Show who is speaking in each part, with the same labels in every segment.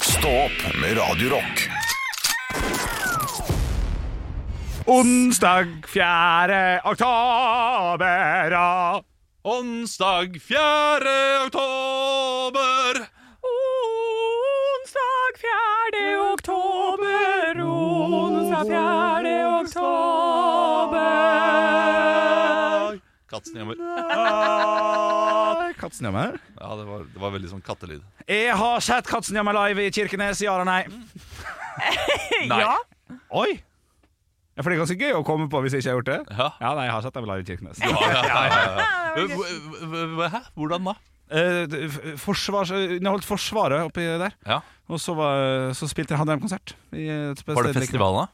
Speaker 1: Stå opp med Radio Rock.
Speaker 2: Onsdag 4. oktober ja.
Speaker 3: Onsdag 4. oktober.
Speaker 2: Onsdag 4. oktober Onsdag 4. oktober
Speaker 3: Kattsnjammer.
Speaker 2: Katzenjammer
Speaker 3: Ja, det var, det var veldig sånn kattelyd.
Speaker 2: Jeg har sett Katzenjammer live i Kirkenes, ja eller nei?
Speaker 3: Nei.
Speaker 4: Ja.
Speaker 2: Oi! Ja, for det er ganske gøy å komme på hvis jeg ikke har gjort det
Speaker 3: Ja.
Speaker 2: Ja, nei, jeg har sett dem live i Kirkenes
Speaker 3: Ja, ja, ja, ja,
Speaker 4: Det
Speaker 3: ja.
Speaker 4: var gøy.
Speaker 3: Hva- hva- hva- Hæ? Hvordan da?
Speaker 2: Eh, f- forsvars, eh, Underholdt forsvaret oppi der
Speaker 3: Ja.
Speaker 2: Og så, var, så spilte hadde de en konsert i eh, et
Speaker 3: Var det
Speaker 2: sted-
Speaker 3: festival, da?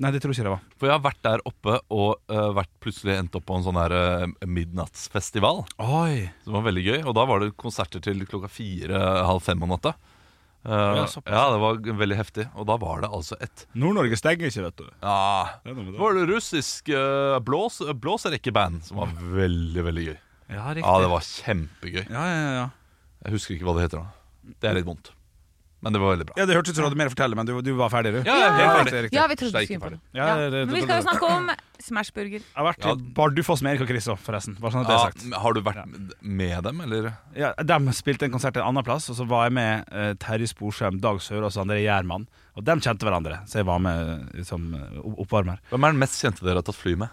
Speaker 2: Nei, det tror jeg ikke det var
Speaker 3: For jeg har vært der oppe og eh, vært plutselig endt opp på en sånn her eh, midnattsfestival.
Speaker 2: Oi
Speaker 3: Som var veldig gøy. Og da var det konserter til klokka fire-halv fem om natta. Eh,
Speaker 2: Ja,
Speaker 3: ja,
Speaker 2: såpass.
Speaker 3: det var veldig heftig. Og da var det altså et
Speaker 2: Nord-Norge stenger ikke, vet du
Speaker 3: ja,
Speaker 2: Det er noe med
Speaker 3: Det
Speaker 2: det.
Speaker 3: var det russisk eh, blås, blåserekkeband som var veldig, veldig gøy.
Speaker 2: Ja, riktig
Speaker 3: Ja, det var kjempegøy.
Speaker 2: Ja, ja, ja.
Speaker 3: Jeg husker ikke hva det heter da. Det er litt vondt. Men det var veldig bra.
Speaker 2: ja, Det hørtes ut som du hadde mer å fortelle, men du, du var ferdig, du.
Speaker 3: Ja, jeg er helt
Speaker 2: det
Speaker 3: ferdig.
Speaker 2: er riktig.
Speaker 4: Ja, vi trodde du
Speaker 3: Steike
Speaker 4: skulle på
Speaker 3: ferdig.
Speaker 4: det.
Speaker 2: Ja,
Speaker 4: Ja.
Speaker 2: det- det-
Speaker 4: Men vi skal jo snakke om Smashburger.
Speaker 2: Jeg har vært til Bardufoss med Erik og Chris òg, forresten. Bare sånn at det er sagt.
Speaker 3: Ja, har du vært med dem, eller?
Speaker 2: Ja, de spilte en konsert en annen plass, og så var jeg med eh, Terje Sporsem, Dag Sørås og André Gjerman. Og de kjente hverandre, så jeg var med eh, som eh, opp- oppvarmer.
Speaker 3: Hvem er den mest kjente dere har tatt fly med?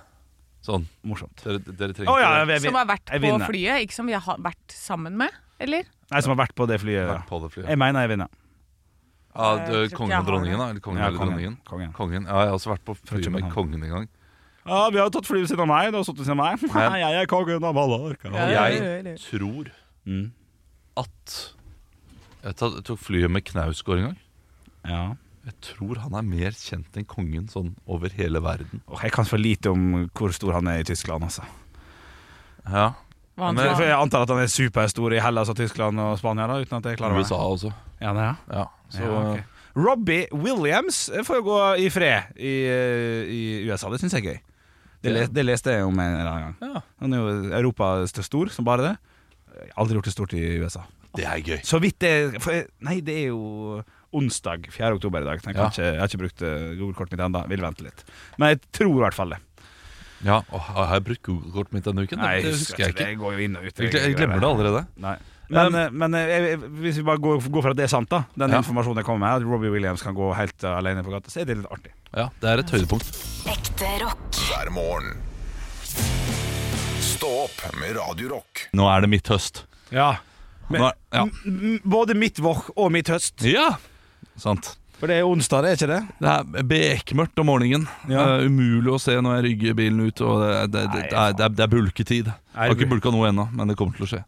Speaker 3: Sånn,
Speaker 2: Morsomt.
Speaker 3: dere, dere
Speaker 2: Å
Speaker 3: trenger
Speaker 2: ja,
Speaker 3: ikke
Speaker 2: jeg,
Speaker 4: Som har vært
Speaker 2: jeg
Speaker 4: på
Speaker 2: vinner.
Speaker 4: flyet, ikke som vi har vært sammen med. Eller?
Speaker 2: Nei, som har vært på det flyet. Ja.
Speaker 3: vært på det flyet.
Speaker 2: Jeg mener jeg vinner.
Speaker 3: Ja, du,
Speaker 4: Jeg tror ikke
Speaker 3: kongen
Speaker 4: jeg
Speaker 3: og
Speaker 4: har
Speaker 3: dronningen,
Speaker 4: det.
Speaker 3: da? Eller kongen
Speaker 2: Ja,
Speaker 3: eller
Speaker 2: kongen.
Speaker 3: dronningen?
Speaker 2: Kongen.
Speaker 3: Ja, jeg har også vært på fly med
Speaker 2: København.
Speaker 3: kongen en gang.
Speaker 2: Ja, vi har tatt fly ved siden av meg. Du har sittet ved siden av meg.
Speaker 3: Ja.
Speaker 2: jeg er kongen av Mallorca.
Speaker 4: Ja, ja, ja, ja, ja.
Speaker 3: Jeg tror
Speaker 2: Mm.
Speaker 3: at Jeg ta- tok flyet med Knausgård en gang.
Speaker 2: Ja.
Speaker 3: Jeg tror han er mer kjent enn kongen sånn over hele verden.
Speaker 2: Åh, jeg kan for lite om hvor stor han er i Tyskland, altså.
Speaker 3: Ja,
Speaker 4: Hva han
Speaker 3: Men-
Speaker 2: For
Speaker 4: sa.
Speaker 2: jeg antar at han er superstor i Hellas og Tyskland og Spania, da, uten at jeg klarer meg.
Speaker 3: USA også.
Speaker 2: Ja, det er han.
Speaker 3: Ja, så eh,
Speaker 2: Ja, ok. Robbie Williams får jo gå i fred i, eh, i USA. Det syns jeg er gøy. Det, le, det leste jeg om en eller annen gang.
Speaker 3: Ja.
Speaker 2: Han er jo Europas st- stor som bare det. Jeg har Aldri gjort det stort i USA.
Speaker 3: Det er gøy.
Speaker 2: Så vidt det for, jeg- Nei, det er jo onsdag 4. oktober i dag. så Jeg, kan
Speaker 3: Ja.
Speaker 2: ikke, jeg har ikke brukt eh, Google-kortet mitt ennå. Vil vente litt. Men jeg tror i hvert fall det.
Speaker 3: Ja, og Har jeg brukt Google-kortet mitt denne uken?
Speaker 2: Nei,
Speaker 3: det husker jeg ikke.
Speaker 2: Det går jo inn og ut.
Speaker 3: Jeg, gle- jeg glemmer det allerede.
Speaker 2: Nei. Men, eh, men eh, jeg, jeg- hvis vi bare går, går for at det er sant, da den
Speaker 3: Ja.
Speaker 2: informasjonen jeg kommer med, at Robbie Williams kan gå helt eh, alene på gata, så er det litt artig.
Speaker 3: Ja, Det er et høydepunkt.
Speaker 5: Ekte rock.
Speaker 1: hver morgen. Stå opp med Radio Rock.
Speaker 3: Nå er det mitt høst.
Speaker 2: Ja. Men-
Speaker 3: Nå er, ja.
Speaker 2: M- Både mitt vår og mitt høst.
Speaker 3: ja! Sant.
Speaker 2: For det er onsdag, det er ikke det?
Speaker 3: Det er bekmørkt om morgenen.
Speaker 2: Ja.
Speaker 3: Det er umulig å se når jeg rygger bilen ut. Og det, det, det, det, er, det, er, det er bulketid. Jeg har ikke bulka noe ennå, men det kommer til å skje.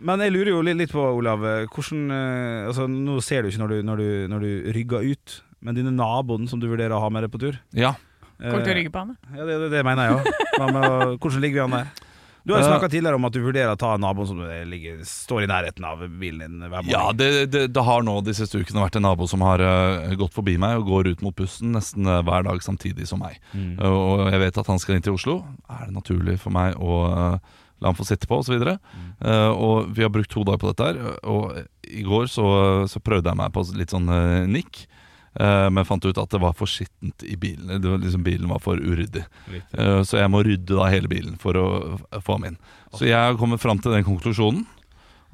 Speaker 2: Men jeg lurer jo li- litt på, Olav. eh, Hvordan, eh, altså, nå ser du ikke når du, når, du, når du rygger ut, men dine naboen som du vurderer å ha med deg på tur
Speaker 3: Ja.
Speaker 2: eh,
Speaker 4: Kommer til å rygge på han. ja.
Speaker 2: Ja, det, det, det mener jeg òg. Hvordan ligger vi an der? Du har jo
Speaker 3: Eh,
Speaker 2: snakka tidligere om at du vurderer å ta naboen som eh, ligger, står i nærheten av bilen din hver morgen.
Speaker 3: Ja, det, det, det har nå de siste ukene vært en nabo som har eh, gått forbi meg og går ut mot bussen nesten eh, hver dag samtidig som meg.
Speaker 2: Mm.
Speaker 3: Eh, og jeg vet at han skal inn til Oslo. Er det naturlig for meg å eh, la han få sitte på, osv.? videre Eh, og vi har brukt to dager på dette her. Og i går så, så prøvde jeg meg på litt sånn eh, nikk. eh, men fant ut at det var for skittent i bilen. Det var liksom Bilen var for uryddig.
Speaker 2: Riktig.
Speaker 3: Eh, så jeg må rydde da hele bilen for å få ham inn. Så jeg har kommet fram til den konklusjonen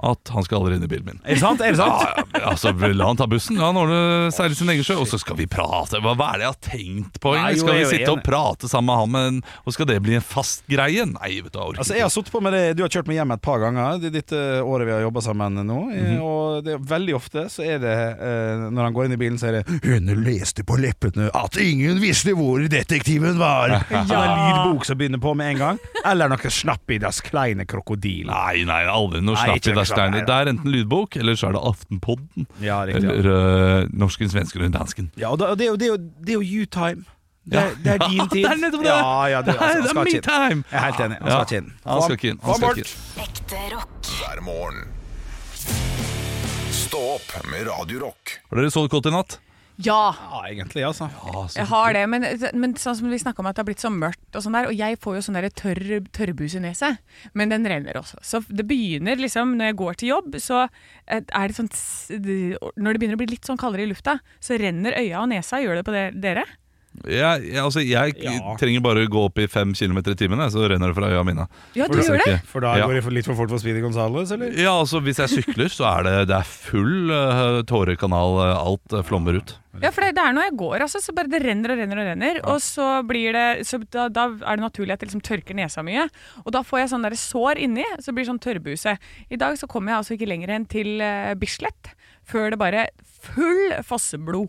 Speaker 3: at han skal aldri inn i bilen min.
Speaker 2: Er det sant? Er det sant?
Speaker 3: Ja, ja, altså, la han ta bussen, la han ordne seile sin egen sjø, og så skal vi prate. Hva, hva er det jeg har tenkt på?
Speaker 2: Nei,
Speaker 3: egentlig?
Speaker 2: jo, jeg er
Speaker 3: skal vi
Speaker 2: jo
Speaker 3: sitte og
Speaker 2: enig.
Speaker 3: prate sammen med han, men, og skal det bli en fast greie? Nei, vet du, jeg orker
Speaker 2: Altså, jeg har sittet på med det Du har kjørt meg hjem et par ganger det dette året vi har jobba sammen nå. eh,
Speaker 3: Mhm.
Speaker 2: Og det, er veldig ofte så er det eh, Når han går inn i bilen, så er det 'Hun leste på leppene at ingen visste hvor detektiven var'. Sånn en lydbok som begynner på med en gang. Eller noe 'Slapp i das kleine krokodil'.
Speaker 3: Nei, nei, aldri noe
Speaker 2: Nei, ikke
Speaker 3: slapp i
Speaker 2: noe
Speaker 3: der
Speaker 2: slapp,
Speaker 3: Steiner.
Speaker 2: nei,
Speaker 3: Det
Speaker 2: nei.
Speaker 3: er enten lydbok, eller så er det Aftenpodden.
Speaker 2: Ja, riktig. Ja.
Speaker 3: Eller øh, norsken, svensken og dansken.
Speaker 2: Ja, og da, og det, er jo- det, er jo, det er jo you time. Det er,
Speaker 3: Ja.
Speaker 2: det er din
Speaker 3: Ja,
Speaker 2: tid.
Speaker 3: det er Ah, nettopp det.
Speaker 2: Ja, ja, det,
Speaker 3: Det er-
Speaker 2: altså, han
Speaker 3: det er
Speaker 2: skal ikke
Speaker 3: me
Speaker 2: inn.
Speaker 3: time!
Speaker 2: Jeg er helt enig. Han
Speaker 3: Ja,
Speaker 2: skal ikke inn.
Speaker 3: han skal ikke inn, han
Speaker 2: Få
Speaker 3: skal
Speaker 2: bort.
Speaker 3: ikke
Speaker 5: Ekte rock.
Speaker 1: Hver morgen. Stå opp med Radio Rock.
Speaker 3: Har dere sovet godt i natt?
Speaker 4: Ja!
Speaker 2: Ja, egentlig, altså.
Speaker 3: Ah, så-
Speaker 4: Jeg har det, men, men sånn som vi snakka om at det har blitt så mørkt og sånn der, og jeg får jo sånn der tørr tørrbus i neset, men den renner også. Så det begynner liksom, når jeg går til jobb, så eh, er det sånn s- det- Når det begynner å bli litt sånn kaldere i lufta, så renner øya og nesa. Gjør det på det, dere?
Speaker 3: Jeg, jeg, altså, jeg
Speaker 2: Ja.
Speaker 3: trenger bare gå opp i fem kilometer i timen, jeg, så renner det fra øya mine.
Speaker 4: Ja, du
Speaker 3: Hvis jeg
Speaker 4: gjør det?
Speaker 3: ikke-
Speaker 2: For da
Speaker 3: Ja.
Speaker 2: går det for- litt for fort for Speedy Gonzales, eller?
Speaker 3: Ja, altså Hvis jeg sykler, så er det, det er full eh, tårekanal. eh, alt eh, flommer ut.
Speaker 4: Ja, for det, det er når jeg går, altså. Så bare det renner og renner og renner. Og så blir det så da, da er det naturlig at jeg liksom tørker nesa mye. Og da får jeg sånn der sår inni, så blir det sånn tørrbuse. I dag så kommer jeg altså ikke lenger enn til eh, Bislett før det bare full fosseblod.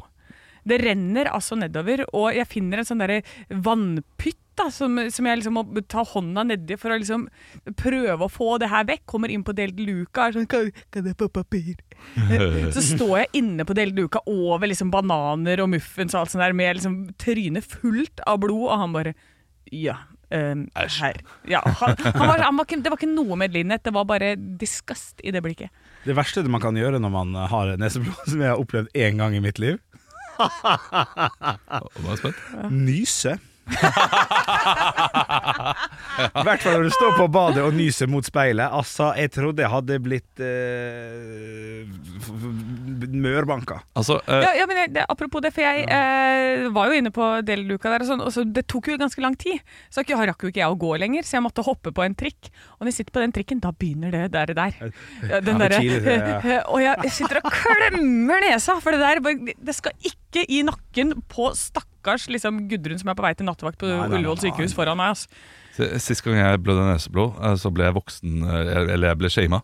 Speaker 4: Det renner altså nedover, og jeg finner en sånn derre vannpytt. Da, som, som jeg liksom må ta hånda nedi for å liksom prøve å få det her vekk. Kommer inn på delt luka og er sånn kan, kan jeg få papir? Så står jeg inne på delt luka over liksom bananer og muffins og alt sånt der, med liksom trynet fullt av blod, og han bare Ja. ehm,
Speaker 3: Æsj.
Speaker 4: her. Ja, han, han var, han var ikke, det var ikke noe medlidenhet, det var bare disgust i det blikket.
Speaker 2: Det verste man kan gjøre når man har neseblod, som jeg har opplevd én gang i mitt liv,
Speaker 3: Og nå er jeg spent.
Speaker 2: nyse. I hvert fall når du står på badet og nyser mot speilet. Altså, jeg trodde jeg hadde blitt eh, f- f- mørbanka.
Speaker 3: Altså, eh,
Speaker 4: Ja, ja men jeg, det, Apropos det, for jeg eh, var jo inne på deleluka der, og sånn, og så det tok jo ganske lang tid. Så jeg rakk jo ikke jeg å gå lenger, så jeg måtte hoppe på en trikk. Og når jeg sitter på den trikken, da begynner det der. der. Ja, Den
Speaker 2: Eh, Ja,
Speaker 4: derre-
Speaker 2: tidlig, det,
Speaker 4: og jeg, jeg sitter og klemmer nesa, for det der bare- Det skal ikke i nakken på stakkars liksom, Gudrun som er på vei til nattevakt på
Speaker 2: Nei, nei, nei,
Speaker 4: Ullevål sykehus foran meg. Altså.
Speaker 3: S- Sist gang jeg blødde neseblod, eh, så ble jeg voksen eh, Eller jeg ble shama.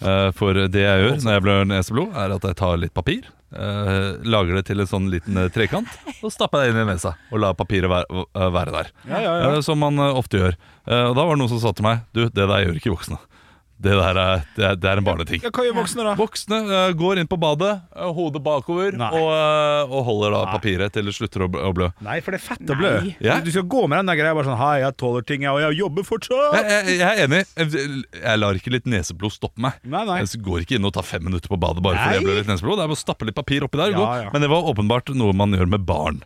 Speaker 3: Eh, For det jeg gjør når jeg blør neseblod, er at jeg tar litt papir, eh, lager det til en sånn liten eh, trekant, og stapper det inn i nesa. Og lar papiret være, eh, være der. Eh, Som man eh, ofte gjør. Eh, Og da var det noen som sa til meg Du, det der gjør ikke voksne. Det der er, det er, det er en barneting.
Speaker 2: Ja, hva gjør voksne, da?
Speaker 3: Voksne eh, går inn på badet, eh, hodet bakover,
Speaker 2: Nei.
Speaker 3: og, eh, og holder da
Speaker 2: Nei.
Speaker 3: papiret til det slutter å bl- å blø.
Speaker 2: Nei, for det er fett å blø.
Speaker 4: Nei.
Speaker 3: Ja.
Speaker 2: Du skal gå med den der greia bare sånn Hei, jeg tåler ting, jeg, og jeg jobber fortsatt.
Speaker 3: Jeg, jeg, jeg er enig. Jeg- Jeg lar ikke litt neseblod stoppe meg.
Speaker 2: Nei, nei.
Speaker 3: Jeg går ikke inn og tar fem minutter på badet bare fordi jeg
Speaker 2: Nei.
Speaker 3: blør litt neseblod. Det er bare å stappe litt papir oppi der og
Speaker 2: Ja,
Speaker 3: gå.
Speaker 2: ja.
Speaker 3: Men det var åpenbart noe man gjør med barn.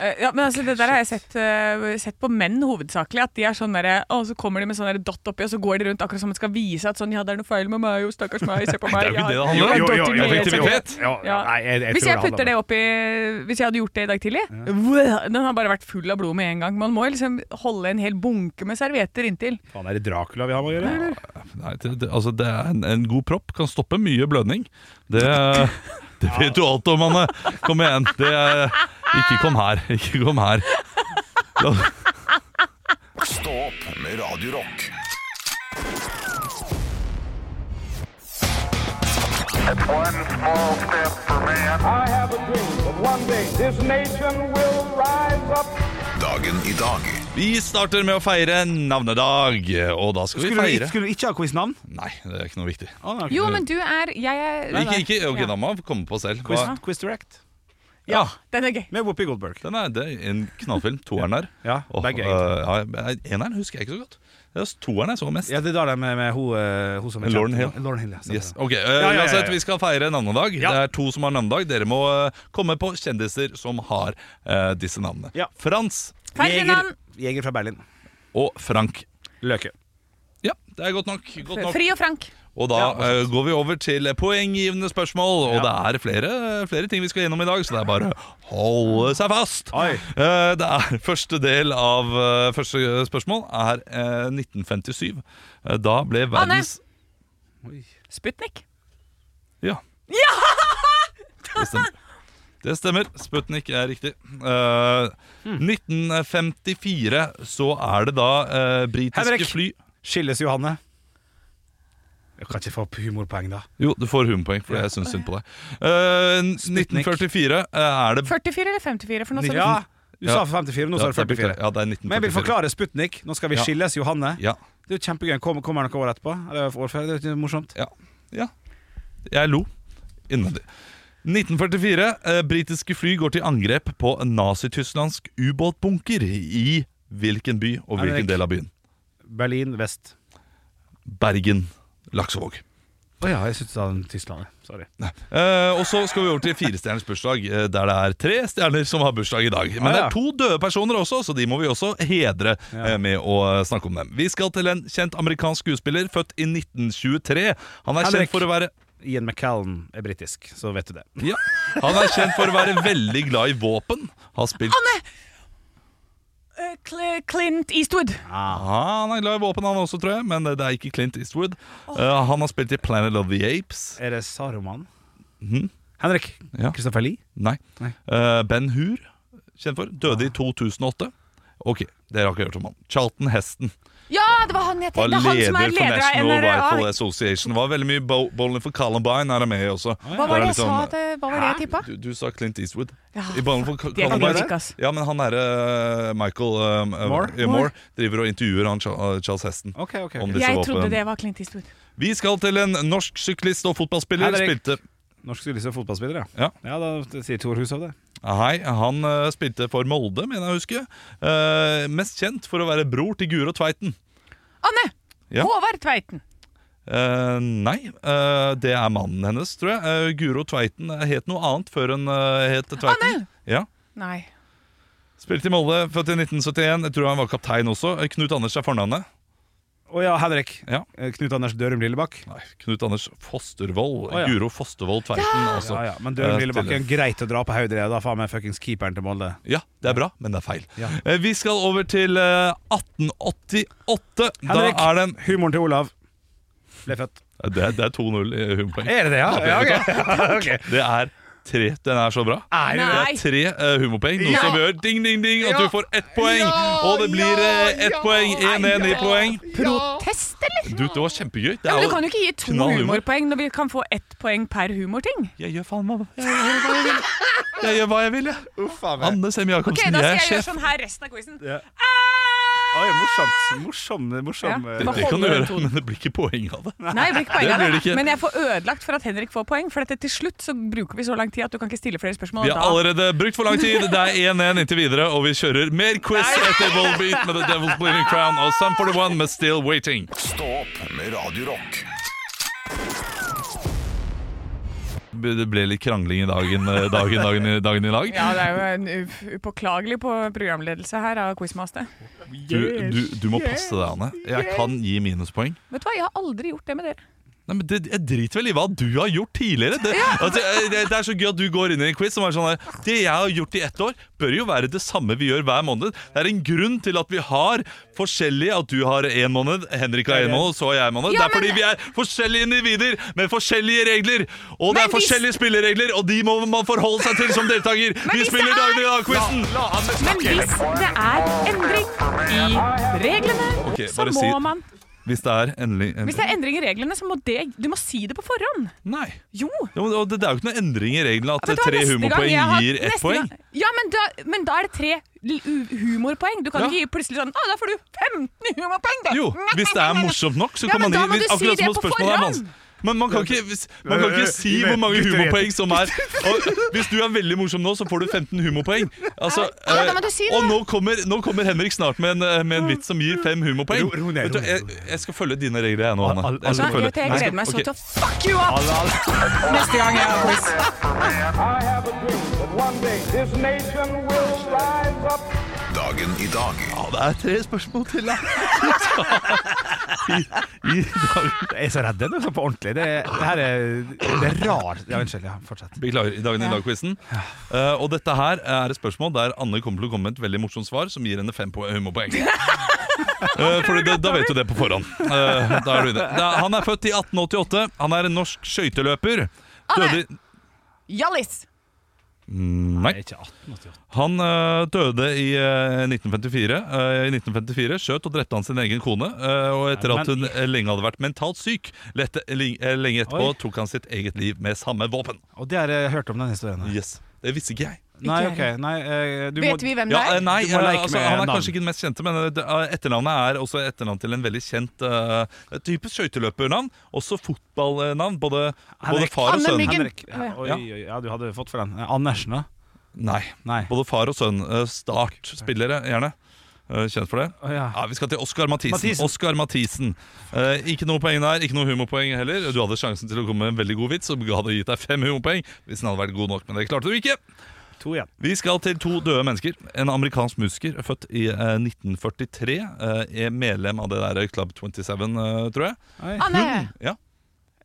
Speaker 4: Eh, Ja, men altså, Det der har jeg sett, eh, sett på menn hovedsakelig. At de er sånn derre Å, så kommer de med sånn derre dott oppi, og så går de rundt akkurat som om de skal vise at sånn Ja, det er noe feil med meg, jo, stakkars meg, se på
Speaker 3: Det
Speaker 4: meg.
Speaker 3: er jo ikke det det
Speaker 4: jeg har-
Speaker 3: handler om.
Speaker 4: jeg har dott i
Speaker 3: jo,
Speaker 4: mye,
Speaker 3: effektivitet.
Speaker 2: Ja, ja,
Speaker 4: Ja.
Speaker 2: nei, jeg, jeg
Speaker 4: Hvis
Speaker 2: tror
Speaker 4: jeg
Speaker 2: handler
Speaker 4: putter
Speaker 2: om-
Speaker 4: det oppi Hvis jeg hadde gjort det i dag tidlig Den har bare vært full av blod med en gang. Man må liksom holde en hel bunke med servietter inntil.
Speaker 2: Faen, er det Dracula vi har med å gjøre, eller?
Speaker 3: Nei, det, det, altså, det er en, en god propp kan stoppe mye blødning. Det, det vet du alt om, Anne. Kom igjen. Det, er- ikke kom her. Ikke kom her. La-
Speaker 1: Stå opp med Radio Rock.
Speaker 6: One small step for man.
Speaker 7: I have a dream that one day this nation will rise up.
Speaker 1: Dagen i dag
Speaker 3: Vi starter med å feire navnedag, og da skal vi
Speaker 2: Skulle du,
Speaker 3: feire
Speaker 2: skulle du ikke ha quiz-navn?
Speaker 3: Nei, det er ikke noe viktig.
Speaker 2: Å, nei,
Speaker 4: Jo, men du er Jeg er
Speaker 3: Ikke, ikke, ok,
Speaker 4: Ja.
Speaker 3: Da må man komme på selv.
Speaker 2: Quiz,
Speaker 3: Hva-
Speaker 2: quiz Direct
Speaker 3: Ja,
Speaker 4: Den er gøy.
Speaker 2: med Whoopi Goldberg.
Speaker 3: Den er, det er en knallfilm. Toeren der.
Speaker 2: Ja,
Speaker 3: Åh,
Speaker 2: begge,
Speaker 3: øh, ja, eneren husker jeg ikke så godt. Det er toeren jeg så mest.
Speaker 2: Ja, det er da det er med, med hun, eh, hun som er
Speaker 3: Lauren
Speaker 2: kjent.
Speaker 3: Hill.
Speaker 2: Lauren Hill ja, stemmer
Speaker 3: Yes.
Speaker 2: det.
Speaker 3: Ok, øh,
Speaker 2: ja, ja, ja.
Speaker 3: uansett, Vi skal feire navnedag. Det er to som har navnedag. Dere må øh, komme på kjendiser som har øh, disse navnene.
Speaker 2: Ja.
Speaker 3: Frans
Speaker 4: Ferdinand.
Speaker 2: Jeger, Jeger fra Berlin.
Speaker 3: og Frank.
Speaker 2: Løke.
Speaker 3: Ja, det er godt nok. Godt nok.
Speaker 4: Fri og frank.
Speaker 3: Og da øh, går vi over til poenggivende spørsmål. Og det er flere, flere ting vi skal gjennom i dag, så det er bare å holde seg fast.
Speaker 2: Oi.
Speaker 3: Eh, Det er første del av eh, første spørsmål er eh, 1957. Eh, Da ble verdens
Speaker 4: Sputnik.
Speaker 3: Ja. Det stemmer. Det stemmer. Sputnik er riktig. Eh,
Speaker 2: Hmm.
Speaker 3: 1954 så er det da eh, britiske
Speaker 2: Henrik.
Speaker 3: fly
Speaker 2: Skilles Johanne. Jeg kan ikke få opp humorpoeng, da.
Speaker 3: Jo, du får humorpoeng, for jeg syns synd på deg. Eh, 1944 er det
Speaker 4: 44 eller 54 for noe sånt.
Speaker 2: Ja, du sa
Speaker 3: Ja.
Speaker 2: 54, nå sa du 44.
Speaker 3: Ja, det er
Speaker 2: Men jeg vil
Speaker 3: 1944.
Speaker 2: forklare Sputnik. Nå skal vi
Speaker 3: Ja.
Speaker 2: skilles, Johanne.
Speaker 3: Ja,
Speaker 2: Det er jo kjempegøy. Kommer, kommer noen år etterpå? Eller år før? Det er jo morsomt.
Speaker 3: Ja. ja. Jeg lo innvendig. 1944. Eh, britiske fly går til angrep på en nazi-tysklandsk ubåtbunker i hvilken by og hvilken
Speaker 2: Henrik.
Speaker 3: del av byen?
Speaker 2: Berlin vest.
Speaker 3: Bergen. Laksevåg.
Speaker 2: Å ja, jeg syns det var Tyskland. jeg. Sorry.
Speaker 3: Eh, og så skal vi over til firestjerners bursdag, eh, der det er tre stjerner som har bursdag i dag. Men
Speaker 2: Ah,
Speaker 3: det
Speaker 2: ja.
Speaker 3: er to døde personer også, så de må vi også hedre eh, med å eh, snakke om dem. Vi skal til en kjent amerikansk skuespiller, født i 1923. Han er
Speaker 2: Henrik.
Speaker 3: kjent for å være
Speaker 2: Ian McCallan er britisk, så vet du det.
Speaker 3: ja, Han er kjent for å være veldig glad i våpen. Har spilt
Speaker 4: Eh, Cl Clint Eastwood.
Speaker 3: ah, Han er glad i våpen, han også, tror jeg, men eh, det er ikke Clint Eastwood. Eh, han har spilt i Planet of the Apes.
Speaker 2: Er det Saruman?
Speaker 3: Mhm.
Speaker 2: Henrik
Speaker 3: Ja.
Speaker 2: Kristoffer Lie?
Speaker 3: Nei.
Speaker 2: Nei.
Speaker 3: Eh, ben Hur, kjent for, døde i 2008. Ok, dere har ikke hørt om han. Charlton Heston
Speaker 4: Ja, det var han jeg
Speaker 3: var
Speaker 4: tenkte! Det er han
Speaker 3: leder
Speaker 4: som er
Speaker 3: for
Speaker 4: leder av
Speaker 3: National Rifle
Speaker 4: NRA.
Speaker 3: Association. Var veldig mye bo- bowling for Columbine er han med i også.
Speaker 4: Hva var
Speaker 3: Det er
Speaker 4: det
Speaker 3: litt
Speaker 4: jeg sa
Speaker 3: sånn-
Speaker 4: at eh, Hva var det jeg tippa?
Speaker 3: Du, du sa Clint Eastwood.
Speaker 4: Ja,
Speaker 3: I bowling for Col-
Speaker 4: det kan
Speaker 3: Columbine.
Speaker 4: jeg ikke, ass.
Speaker 3: Ja, men han derre Michael um, uh,
Speaker 2: Moore?
Speaker 3: ja, Moore driver og intervjuer han Cha- uh, Charles Heston.
Speaker 2: Ok, ok.
Speaker 3: Om
Speaker 2: ok.
Speaker 3: disse
Speaker 4: Jeg
Speaker 3: våpen.
Speaker 4: trodde det var Clint Eastwood.
Speaker 3: Vi skal til en norsk syklist og fotballspiller.
Speaker 2: Henrik.
Speaker 3: Spilte
Speaker 2: Norsk skuespiller og fotballspiller, ja.
Speaker 3: Ja.
Speaker 2: da sier Thor Hushov det.
Speaker 3: Hei, han eh, spilte for Molde, mener jeg å huske. Eh, mest kjent for å være bror til Guro Tveiten.
Speaker 4: Anne!
Speaker 3: Ja.
Speaker 4: Håvard Tveiten.
Speaker 3: Eh, nei, eh, det er mannen hennes, tror jeg. Eh, Guro Tveiten het noe annet før hun eh, het Tveiten. Ja.
Speaker 4: Nei.
Speaker 3: Spilte i Molde, født i 1971. Jeg tror han var kaptein også. Eh, Knut Anders er fornavnet.
Speaker 2: Å ja, Henrik.
Speaker 3: Ja.
Speaker 2: Eh, Knut Anders Dørum Lillebakk.
Speaker 3: Nei, Knut Anders Fostervold.
Speaker 2: Å, ja.
Speaker 3: Guro Fostervold Tveiten, altså.
Speaker 2: Ja, ja. Men Dørum
Speaker 3: Eh,
Speaker 2: Lillebakk er greit å dra på hodet, da faen meg fuckings keeperen til Molde.
Speaker 3: Ja, det er bra, men det er feil.
Speaker 2: Ja.
Speaker 3: Eh, Vi skal over til eh, 1888.
Speaker 2: Henrik.
Speaker 3: Da er det en
Speaker 2: Humoren til Olav ble født.
Speaker 3: Det er, det er 2-0 i humorpoeng.
Speaker 4: Eh.
Speaker 2: Er det det, ja? ja ok. ok.
Speaker 3: Det er tre Den er så bra.
Speaker 2: Er det det?
Speaker 4: Nei.
Speaker 3: Tre eh, humorpoeng, noe som gjør ding, ding, ding at
Speaker 2: Ja.
Speaker 3: du får ett poeng. og det blir eh, ett poeng. 1-1 i poeng.
Speaker 4: Protest, eller?
Speaker 3: Du, det var kjempegøy. Det
Speaker 4: Ja,
Speaker 3: er jo
Speaker 4: men du kan jo ikke gi to
Speaker 3: knallhumor.
Speaker 4: humorpoeng når vi kan få ett poeng per humorting.
Speaker 3: Jeg gjør faen meg jeg gjør hva jeg vil. Jeg gjør hva jeg vil, jeg. Anne Sem
Speaker 4: Ok,
Speaker 3: Jacobsen, jeg
Speaker 4: Da skal
Speaker 3: er
Speaker 4: jeg gjøre
Speaker 3: sjef.
Speaker 4: sånn her resten av quizen. Ah!
Speaker 2: Ja. Oi, morsomt. Morsom, morsom.
Speaker 4: Ja.
Speaker 2: eh,
Speaker 3: Det kan du gjøre, men det blir ikke poeng av det.
Speaker 4: Nei, det blir
Speaker 3: Det
Speaker 4: ikke poeng av
Speaker 3: blir det
Speaker 4: det.
Speaker 3: ikke.
Speaker 4: Men jeg får ødelagt for at Henrik får poeng. For dette til slutt så bruker vi så lang tid at du kan ikke stille flere spørsmål.
Speaker 3: Vi
Speaker 4: og
Speaker 3: har
Speaker 4: da-
Speaker 3: allerede brukt for lang tid. Det er 1-1 inntil videre, og vi kjører mer quiz etter Volbeat med The Devil's Bleeding Crown og Sum 41 med Still Waiting.
Speaker 1: Stå opp med Radio Rock.
Speaker 3: Det ble litt krangling i dagen, eh, dagen, dagen, dagen i dag.
Speaker 4: Ja, det er jo en u- upåklagelig på programledelse her av Quizmaster.
Speaker 3: Du, du, du må passe deg, Anne. Jeg kan gi minuspoeng.
Speaker 4: Vet du hva, jeg har aldri gjort det med dere.
Speaker 3: Nei, men det, Jeg driter vel i hva du har gjort tidligere. Det, altså, eh, det, det er så gøy at du går inn i en quiz som er sånn der Det jeg har gjort i ett år, bør jo være det samme vi gjør hver måned. Det er en grunn til at vi har forskjellige At du har én måned, Henrik har én måned, så har jeg en måned.
Speaker 4: Ja,
Speaker 3: det er fordi
Speaker 4: men-
Speaker 3: vi er forskjellige individer med forskjellige regler. Og det
Speaker 4: Men
Speaker 3: er
Speaker 4: hvis-
Speaker 3: forskjellige spilleregler, og de må man forholde seg til som deltaker. Vi
Speaker 4: hvis det
Speaker 3: spiller
Speaker 4: er-
Speaker 3: Dagen i dag-quizen!
Speaker 4: Men hvis det er endring i reglene,
Speaker 3: Ok,
Speaker 4: så
Speaker 3: bare
Speaker 4: må
Speaker 3: si-
Speaker 4: man
Speaker 3: Hvis det er endelig
Speaker 4: Hvis det er endring i reglene, så må det Du må si det på forhånd.
Speaker 3: Nei.
Speaker 4: Jo.
Speaker 3: Jo, men det, det er jo ikke noen endring i reglene at
Speaker 4: Vet du hva,
Speaker 3: tre
Speaker 4: neste gang
Speaker 3: humorpoeng
Speaker 4: jeg har-
Speaker 3: gir ett
Speaker 4: neste
Speaker 3: poeng.
Speaker 4: gang- Ja, men da, men da er det tre l- u- humorpoeng. Du kan
Speaker 3: Ja.
Speaker 4: ikke gi plutselig sånn Å, da får du 15 humorpoeng, da!
Speaker 3: Jo, hvis det er morsomt nok, så
Speaker 4: Ja,
Speaker 3: kan
Speaker 4: men
Speaker 3: man
Speaker 4: da
Speaker 3: gi
Speaker 4: må
Speaker 3: hvis-
Speaker 4: du si
Speaker 3: akkurat
Speaker 4: det
Speaker 3: som om
Speaker 4: på
Speaker 3: spørsmålet er
Speaker 4: forhånd.
Speaker 3: vanskelig. Men man kan, ikke, hvis, man kan ikke si
Speaker 2: Gutter,
Speaker 3: hvor mange
Speaker 2: gutter,
Speaker 3: humorpoeng som er. Og hvis du er veldig morsom nå, så får du 15 humorpoeng. Altså,
Speaker 4: Ja, da må
Speaker 3: eh,
Speaker 4: du si det.
Speaker 3: og nå kommer, nå kommer Henrik snart med en, eh, med en vits som gir fem humorpoeng.
Speaker 2: Ro- ro ned,
Speaker 3: Vet du,
Speaker 2: ro ned,
Speaker 3: jeg,
Speaker 2: ro ned.
Speaker 3: jeg skal følge dine regler, jeg nå, Anne.
Speaker 2: al-
Speaker 3: Jeg, skal
Speaker 4: Nei,
Speaker 3: følge.
Speaker 4: vet du, jeg
Speaker 3: Nei,
Speaker 4: gleder meg så
Speaker 3: ok.
Speaker 4: til å fuck you up neste gang jeg har quiz.
Speaker 7: I have a dream that one day this nation will rise up.
Speaker 1: Dagen i dag.
Speaker 3: Ja, det er tre spørsmål til, da. I, i dag.
Speaker 2: Jeg er så redd den, altså, på ordentlig. Det, det her er, det er rart. Ja, unnskyld. Ja, fortsett.
Speaker 3: Beklager, i dagen i dag-quizen. Eh, og dette her er et spørsmål der Anne kommer til å komme med et veldig morsomt svar som gir henne fem po- humorpoeng. Eh, Fordi det, Da vet du det på forhånd. Eh, da er du inne. Da, han er født i 1888. Han er en norsk skøyteløper. Døde, i-
Speaker 4: Hjallis!
Speaker 3: nei.
Speaker 2: Ikke 1888.
Speaker 3: Han eh, døde i eh, 1954. Eh, I 1954 skjøt og drepte han sin egen kone. eh, og etter
Speaker 2: Nei,
Speaker 3: at
Speaker 2: men-
Speaker 3: hun eh, lenge hadde vært mentalt syk, lette, li- eh, lenge etterpå
Speaker 2: Oi.
Speaker 3: tok han sitt eget liv med samme våpen.
Speaker 2: Og det har jeg hørt om den historien. her.
Speaker 3: Yes, Det visste ikke jeg.
Speaker 2: Nei,
Speaker 4: Ikke
Speaker 2: ok.
Speaker 4: jeg.
Speaker 2: Nei, eh, du må
Speaker 4: Vet vi hvem det
Speaker 3: Ja, eh,
Speaker 4: er?
Speaker 3: nei,
Speaker 2: Du må
Speaker 3: eh,
Speaker 2: leke
Speaker 3: altså,
Speaker 2: med
Speaker 3: han er
Speaker 2: navn.
Speaker 3: kanskje ikke den mest kjente, men eh, det- eh, etternavnet er også etternavn til en veldig kjent eh, type skøyteløpernavn. Også fotballnavn. Både, både
Speaker 2: Henrik.
Speaker 3: far og
Speaker 4: Anne
Speaker 3: sønn.
Speaker 4: Myggen.
Speaker 2: Henrik. Ja, oi,
Speaker 3: Ja.
Speaker 2: oi, ja, du hadde fått for den. Eh, Andersen, da?
Speaker 3: Nei.
Speaker 2: Nei.
Speaker 3: Både far og sønn. eh, Startspillere, gjerne. eh, kjent for det.
Speaker 2: Å, ja.
Speaker 3: vi skal til Oskar Mathisen.
Speaker 2: Mathisen.
Speaker 3: Oskar Mathisen. Eh, ikke noe poeng der, ikke noe humorpoeng heller. Du hadde sjansen til å komme med en veldig god vits og hadde gitt deg fem humorpoeng hvis den hadde vært god nok, men det klarte du ikke.
Speaker 2: To igjen.
Speaker 3: Vi skal til to døde mennesker. En amerikansk musiker født i eh, 1943. eh, er medlem av det der Club 27, eh, tror jeg.
Speaker 4: Ah, nei.
Speaker 3: Ja.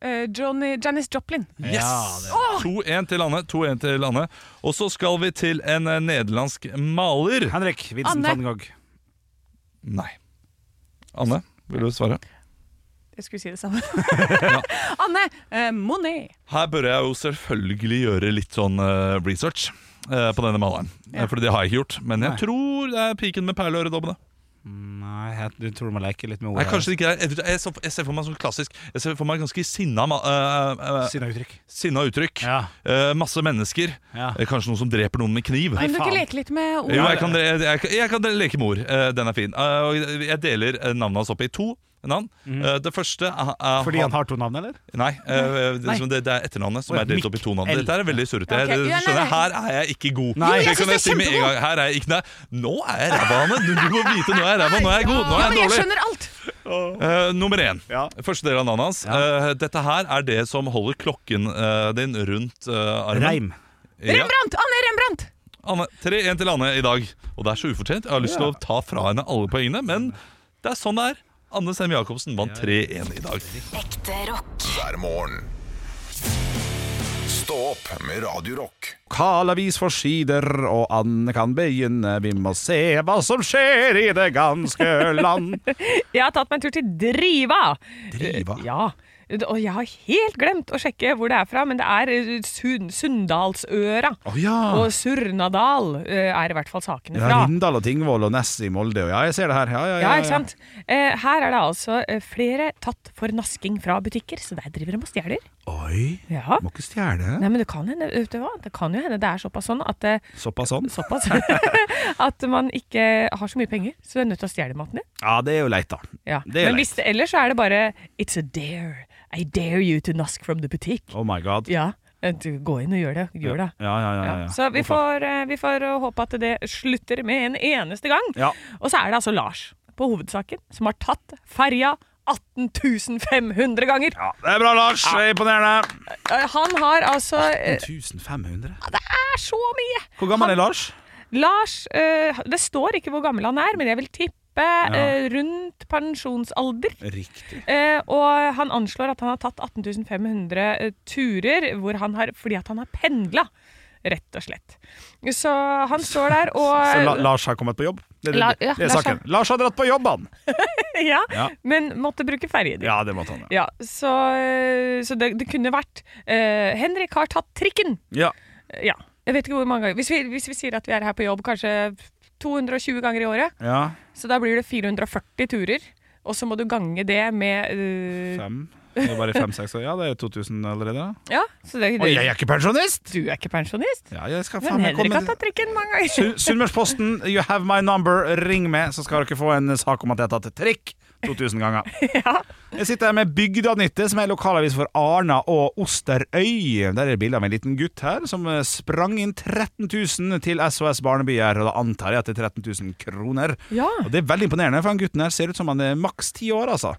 Speaker 4: Eh, Johnny, Janis Joplin.
Speaker 3: Yes!
Speaker 2: Ja,
Speaker 3: 2-1 til Anne. 2-1 til Anne. Og så skal vi til en eh, nederlandsk maler.
Speaker 2: Henrik Vincent
Speaker 4: Anne.
Speaker 2: van Gogh.
Speaker 3: Nei. Anne, vil du svare?
Speaker 4: Jeg skulle si det samme. Anne eh, Monet.
Speaker 3: Her bør jeg jo selvfølgelig gjøre litt sånn eh, research eh, på denne maleren.
Speaker 4: Ja.
Speaker 3: For det har jeg ikke gjort. Men jeg
Speaker 2: Nei.
Speaker 3: tror det er piken med perleøredobbene.
Speaker 2: Nei, jeg, du tror du må leke litt med
Speaker 3: Nei,
Speaker 2: ordet.
Speaker 3: kanskje det ikke er. Jeg, tror- jeg, så- jeg ser for meg sånn klassisk Jeg ser for meg ganske sinna ma- eh, eh,
Speaker 2: Siden av uttrykk.
Speaker 3: Sinna uttrykk.
Speaker 2: Ja.
Speaker 3: Eh, masse mennesker.
Speaker 2: Ja.
Speaker 3: Eh, kanskje noen som dreper noen med kniv.
Speaker 2: Nei,
Speaker 4: Kan du ikke
Speaker 2: faen.
Speaker 4: leke litt med ord?
Speaker 3: Jo, jeg kan, jeg, jeg, kan- jeg kan dele lekemor. Eh, den er fin. Eh, og jeg deler eh, navnet hans opp i to navn. Eh, det første er, er
Speaker 2: Fordi han har to navn, eller?
Speaker 3: Nei, eh, det, som- det, det er etternavnet som
Speaker 2: Å ja,
Speaker 3: er delt opp i
Speaker 2: Mikk
Speaker 3: to navn.
Speaker 2: L.
Speaker 3: Dette er veldig surrete.
Speaker 4: Ja, ok.
Speaker 3: Jeg-
Speaker 4: Ja, nei,
Speaker 3: skjønner,
Speaker 4: nei.
Speaker 3: Her er jeg ikke god.
Speaker 2: Nei. Jo, jeg
Speaker 3: det
Speaker 4: synes
Speaker 3: kan jeg si
Speaker 4: det er
Speaker 3: med en gang. Her er jeg ikke nei. Nå er jeg ræva, Anne! Du du må vite nå er jeg ræva, nå er jeg god, nå
Speaker 4: Ja,
Speaker 3: er jeg
Speaker 4: men jeg
Speaker 3: dårlig.
Speaker 4: skjønner alt!
Speaker 3: Eh, nummer én.
Speaker 2: Ja.
Speaker 3: Første del av navnet hans. Eh, dette her er det som holder klokken eh, din rundt eh, armen.
Speaker 2: Reim.
Speaker 3: Ja.
Speaker 4: Rembrandt! Anne Rembrandt!
Speaker 3: Anne, 3-1 til Anne i dag. Og det er så ufortjent. Jeg har lyst til å ta fra henne alle poengene, men det er sånn det er. Anne Sem Jacobsen vant 3-1 i dag.
Speaker 5: Ekte rock.
Speaker 1: hver morgen. Stå opp med Radio Rock.
Speaker 2: Lokal avis for sider, og Anne kan begynne. Vi må se hva som skjer i det ganske land.
Speaker 4: Jeg har tatt meg en tur til Driva. Eh,
Speaker 2: Driva?
Speaker 4: Ja. Og jeg har helt glemt å sjekke hvor det er fra, men det er eh, Sund Sunndalsøra. Og Surnadal eh, er i hvert fall sakene
Speaker 2: Ja,
Speaker 4: fra.
Speaker 2: Rindal og Tingvoll og Ness i Molde og ja, jeg ser det her. Ja, ja, ja,
Speaker 4: Ja, ikke sant? Eh, her er det altså eh, flere tatt for nasking fra butikker, så der driver de og stjeler.
Speaker 2: Oi,
Speaker 4: Ja.
Speaker 2: må ikke stjele.
Speaker 4: Nei, men det kan hende, vet du hva? Det kan jo hende det er såpass sånn at, eh,
Speaker 2: Såpass sånn.
Speaker 4: såpass, at man ikke har så mye penger, så du er nødt til å stjele maten din.
Speaker 2: Ja, det er jo leit, da.
Speaker 4: Ja.
Speaker 2: Det er
Speaker 4: Men
Speaker 2: leit.
Speaker 4: hvis det, ellers så er det bare It's a dare. I dare you to nask from the butikk.
Speaker 2: Oh my god.
Speaker 4: Ja, Eh, du, gå inn og gjør det. Gjør det.
Speaker 2: Ja, ja, ja, ja, ja.
Speaker 4: Så vi får, eh, vi får eh, håpe at det slutter med en eneste gang.
Speaker 2: Ja.
Speaker 4: Og så er det altså Lars på hovedsaken som har tatt ferja 18 500 ganger.
Speaker 2: Ja, det er bra, Lars. Det er Imponerende.
Speaker 4: Eh, Han har altså eh,
Speaker 2: 1500.
Speaker 4: Det er så mye!
Speaker 2: Hvor gammel er Lars?
Speaker 4: Lars eh, Det står ikke hvor gammel han er, men jeg vil tippe eh, rundt pensjonsalder.
Speaker 2: Riktig.
Speaker 4: Eh, og han anslår at han har tatt 18.500 eh, turer hvor han har, fordi at han har pendla, rett og slett. Så han står der og
Speaker 2: Så La Lars har kommet på jobb? Det, det,
Speaker 4: La-
Speaker 2: det,
Speaker 4: ja,
Speaker 2: det er
Speaker 4: Lars
Speaker 2: saken. Lars har dratt på jobb, han.
Speaker 4: ja,
Speaker 2: Ja.
Speaker 4: Men måtte bruke ferje. dit.
Speaker 2: Ja, det måtte han. Ja.
Speaker 4: Ja, så eh, så det, det kunne vært eh, Henrik har tatt trikken!
Speaker 2: Ja.
Speaker 4: Eh, Ja. Jeg vet ikke hvor mange ganger. Hvis vi, hvis vi sier at vi er her på jobb kanskje 220 ganger i året,
Speaker 2: ja.
Speaker 4: så da blir det 440 turer. Og så må du gange det med eh,
Speaker 2: Fem. Det er bare fem-seks år. Ja, det er 2000 allerede. da.
Speaker 4: Ja, så det,
Speaker 2: Og
Speaker 4: det,
Speaker 2: jeg er ikke pensjonist!
Speaker 4: du er ikke pensjonist?
Speaker 2: Ja, jeg skal faen
Speaker 4: Men
Speaker 2: meg
Speaker 4: Henrik
Speaker 2: komme
Speaker 4: har tatt trikken mange ganger.
Speaker 2: Sun- Sunnmørsposten, you have my number, ring meg, så skal dere få en sak om at jeg har tatt trikk 2000 ganger. Jeg sitter her med Bygdanyttet, som er lokalavis for Arna og Osterøy. Der er det bilde av en liten gutt her som eh, sprang inn 13 000 til SOS Barnebyer, og da antar jeg at det er 13 000 kroner.
Speaker 4: Ja.
Speaker 2: Og det er veldig imponerende, for han gutten her ser ut som han er maks ti år, altså.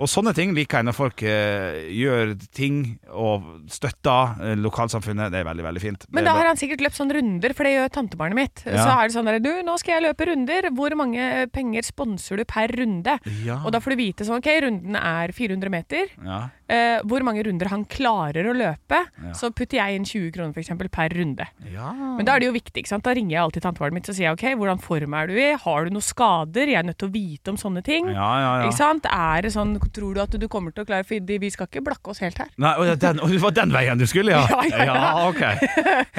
Speaker 2: Og sånne ting liker jeg når folk eh, gjør ting og støtter eh, lokalsamfunnet. Det er veldig, veldig fint.
Speaker 4: Men
Speaker 2: Det
Speaker 4: da
Speaker 2: er
Speaker 4: har han sikkert løpt sånn runder, for det gjør tantebarnet mitt.
Speaker 2: Ja.
Speaker 4: Så er det sånn der, du, nå skal jeg løpe runder. Hvor mange eh, penger sponser du per runde?
Speaker 2: Ja.
Speaker 4: Og da får du vite sånn, ok, runden er 400 meter.
Speaker 2: bare- ja.
Speaker 4: Eh, hvor mange runder han klarer å løpe,
Speaker 2: Ja.
Speaker 4: så putter jeg inn 20 kroner for eksempel per runde.
Speaker 2: Ja.
Speaker 4: Men da er det jo viktig, ikke sant? Da ringer jeg alltid tantebarnet mitt og sier, jeg, ok, hvordan form er du i? Har du noen skader? Jeg er nødt til å vite om sånne ting.
Speaker 2: Ja, ja, ja.
Speaker 4: Ikke sant? Er det sånn, tror du at du kommer til å klare, for vi skal ikke blakke oss helt her.
Speaker 2: Nei, å, ja, den, å, det var den veien du skulle, ja?
Speaker 4: Ja, ja, ja.
Speaker 2: ok.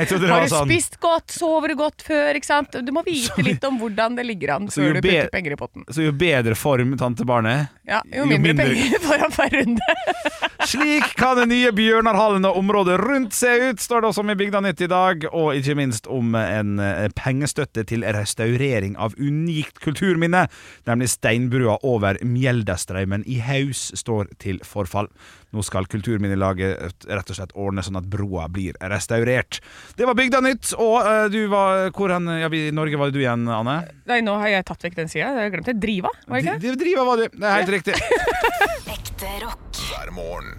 Speaker 2: Jeg trodde det
Speaker 4: Har
Speaker 2: var
Speaker 4: du
Speaker 2: sånn
Speaker 4: spist godt, sover du godt før, ikke sant? Du må vite litt om hvordan det ligger an
Speaker 2: Så Altså,
Speaker 4: før
Speaker 2: jo
Speaker 4: du
Speaker 2: be-
Speaker 4: putter penger i potten.
Speaker 2: Så jo bedre form tantebarnet
Speaker 4: Ja, jo,
Speaker 2: jo
Speaker 4: mindre
Speaker 2: mindre-
Speaker 4: penger foran hver runde.
Speaker 2: Slik kan det nye Bjørnarhallen og området rundt se ut, står det også om i Bygda Nytt i dag. Og ikke minst om en eh, pengestøtte til restaurering av unikt kulturminne, nemlig steinbrua over Mjeldastraumen i Haus, står til forfall. Nå skal Kulturminnelaget rett og slett ordne sånn at broa blir restaurert. Det var Bygda Nytt, og eh, du var hvor hen, ja, vi- I Norge var det du igjen, Anne?
Speaker 4: Nei, nå har jeg tatt vekk den sida. Jeg glemte Driva, var det ikke det?
Speaker 2: Dri- Driva var du. Det er helt riktig.
Speaker 5: Ekte rock.
Speaker 1: hver morgen.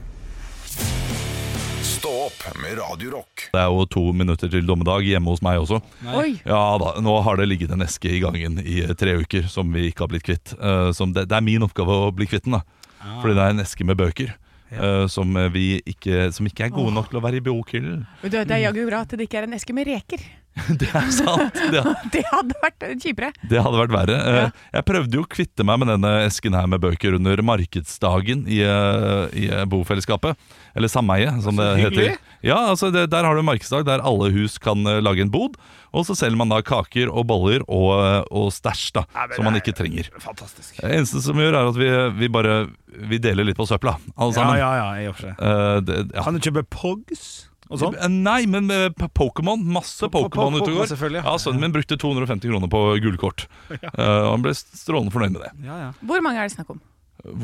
Speaker 1: Stå opp med Radio Rock.
Speaker 3: Det er jo to minutter til dommedag hjemme hos meg også.
Speaker 4: Oi.
Speaker 3: Ja da, nå har det ligget en eske i gangen i eh, tre uker som vi ikke har blitt kvitt. Eh, som det, det er min oppgave å bli kvitt den, da. Fordi det er en eske med bøker. eh, som, vi ikke, som ikke er gode nok til å være i bokhyllen.
Speaker 4: Men du, det er jaggu bra at det ikke er en eske med reker.
Speaker 3: Det er sant! Det,
Speaker 4: Det hadde vært kjipere.
Speaker 3: det hadde vært verre. Eh, Jeg prøvde jo å kvitte meg med denne esken her med bøker under markedsdagen i, eh, i eh, bofellesskapet. Eller sameie, som det
Speaker 2: hyggelig.
Speaker 3: heter. Ja, altså det, Der har du en markedsdag der alle hus kan eh, lage en bod. Og så selger man da kaker og boller og, eh, og stæsj, da. som man ikke trenger.
Speaker 2: Fantastisk.
Speaker 3: Det eneste som gjør, er at vi, vi bare Vi deler litt på søpla,
Speaker 2: Ja,
Speaker 3: alle sammen.
Speaker 2: ja, ja, i og for seg.
Speaker 3: Eh, det, ja.
Speaker 2: Kan du kjøpe Pogs og sånn?
Speaker 3: Eh, Nei, men eh, p- Pokémon. Masse
Speaker 2: På- på-
Speaker 3: Pokémon ute og
Speaker 2: Pokémon,
Speaker 3: går.
Speaker 2: selvfølgelig, ja.
Speaker 3: Ja, Sønnen min brukte 250 kroner på gullkort. Eh, og han ble strålende fornøyd med det.
Speaker 2: Ja, ja.
Speaker 4: Hvor mange er det snakk om?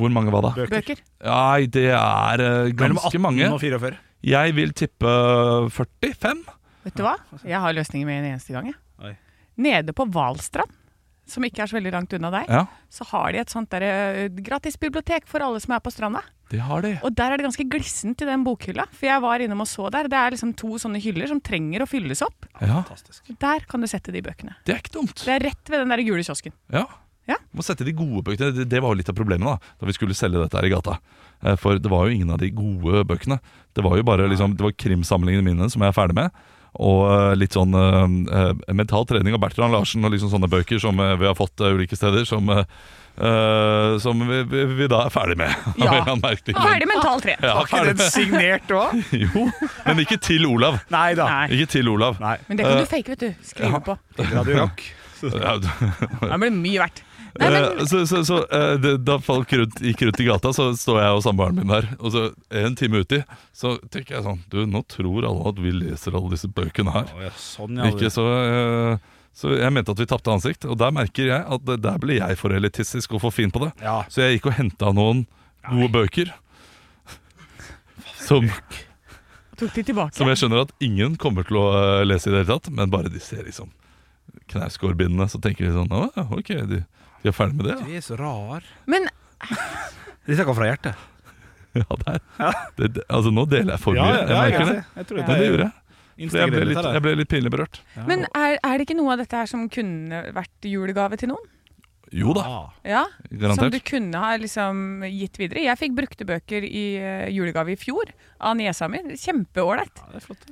Speaker 3: Hvor mange var det?
Speaker 4: Bøker?
Speaker 3: Nei, det er eh,
Speaker 2: Mellom
Speaker 3: ganske
Speaker 2: 18
Speaker 3: mange.
Speaker 2: og 44.
Speaker 3: Jeg vil tippe 45.
Speaker 4: Vet du hva? Jeg har løsninger med en eneste gang. jeg.
Speaker 2: altså. Oi.
Speaker 4: Nede på Valstrand, som ikke er så veldig langt unna deg,
Speaker 3: Ja,
Speaker 4: så har de et sånt der, eh, gratis bibliotek for alle som er på stranda.
Speaker 3: det har de.
Speaker 4: Og der er det ganske glissent i den bokhylla, for jeg var innom og så der. Det er liksom to sånne hyller som trenger å fylles opp.
Speaker 3: Ja,
Speaker 2: Fantastisk.
Speaker 4: Der kan du sette de bøkene.
Speaker 3: Det er ikke dumt.
Speaker 4: Det er rett ved den der gule kiosken.
Speaker 3: Ja.
Speaker 4: Ja.
Speaker 3: Må sette de gode bøkene. Det, det var jo litt av problemet da Da vi skulle selge dette her i gata. Eh, For det var jo ingen av de gode bøkene. Det var jo bare liksom Det var krimsamlingene mine som jeg er ferdig med. Og eh, litt sånn eh, eh, mental trening av Bertrand Larsen og liksom sånne bøker som eh, vi har fått eh, ulike steder, som, eh, eh, som vi, vi, vi da er ferdig med. av en
Speaker 4: Ja.
Speaker 3: eller annen merkelig grunn.
Speaker 4: Ah, Ferdig mental tre.
Speaker 3: Ja, ferdig med.
Speaker 2: signert òg?
Speaker 3: Jo, men ikke til Olav.
Speaker 2: Nei da.
Speaker 4: Nei.
Speaker 3: Ikke til Olav.
Speaker 2: Nei.
Speaker 4: Men det
Speaker 3: Eh,
Speaker 4: kan du fake, vet du. Skrive på.
Speaker 2: Radio Rock.
Speaker 3: Ja,
Speaker 4: Det blir mye verdt. Nei, men,
Speaker 3: Eh, så så, så eh, det, da folk rundt, gikk rundt i gata, så står jeg og samboeren min der. Og så en time uti, så tenker jeg sånn Du, nå tror alle at vi leser alle disse bøkene her.
Speaker 2: Å, ja, sånn, ja.
Speaker 3: Ikke så eh, Så jeg mente at vi tapte ansikt, og der merker jeg at det- der ble jeg for elitistisk og for fin på det.
Speaker 2: Ja.
Speaker 3: Så jeg gikk og henta noen gode bøker. Som,
Speaker 4: tok de tilbake.
Speaker 3: som jeg skjønner at ingen kommer til å eh, lese i det hele tatt, men bare de ser liksom knausgårdbindene, så tenker de sånn Å, ja, ok, de, de er ferdig med det, ja.
Speaker 2: Du er så rar.
Speaker 4: Men
Speaker 2: Dette går fra hjertet.
Speaker 3: Ja, det er, det, det, altså nå deler jeg for mye, jeg merker det.
Speaker 2: Jeg tror
Speaker 3: Men det gjorde jeg. For Jeg ble,
Speaker 2: Instagram
Speaker 3: litt, jeg ble litt pinlig berørt.
Speaker 4: Men er, er det ikke noe av dette her som kunne vært julegave til noen?
Speaker 3: Jo da,
Speaker 4: Ja, Som du
Speaker 3: garantert.
Speaker 4: kunne ha liksom gitt videre. Jeg fikk brukte bøker i eh, julegave i fjor av niesa mi. Kjempeålreit.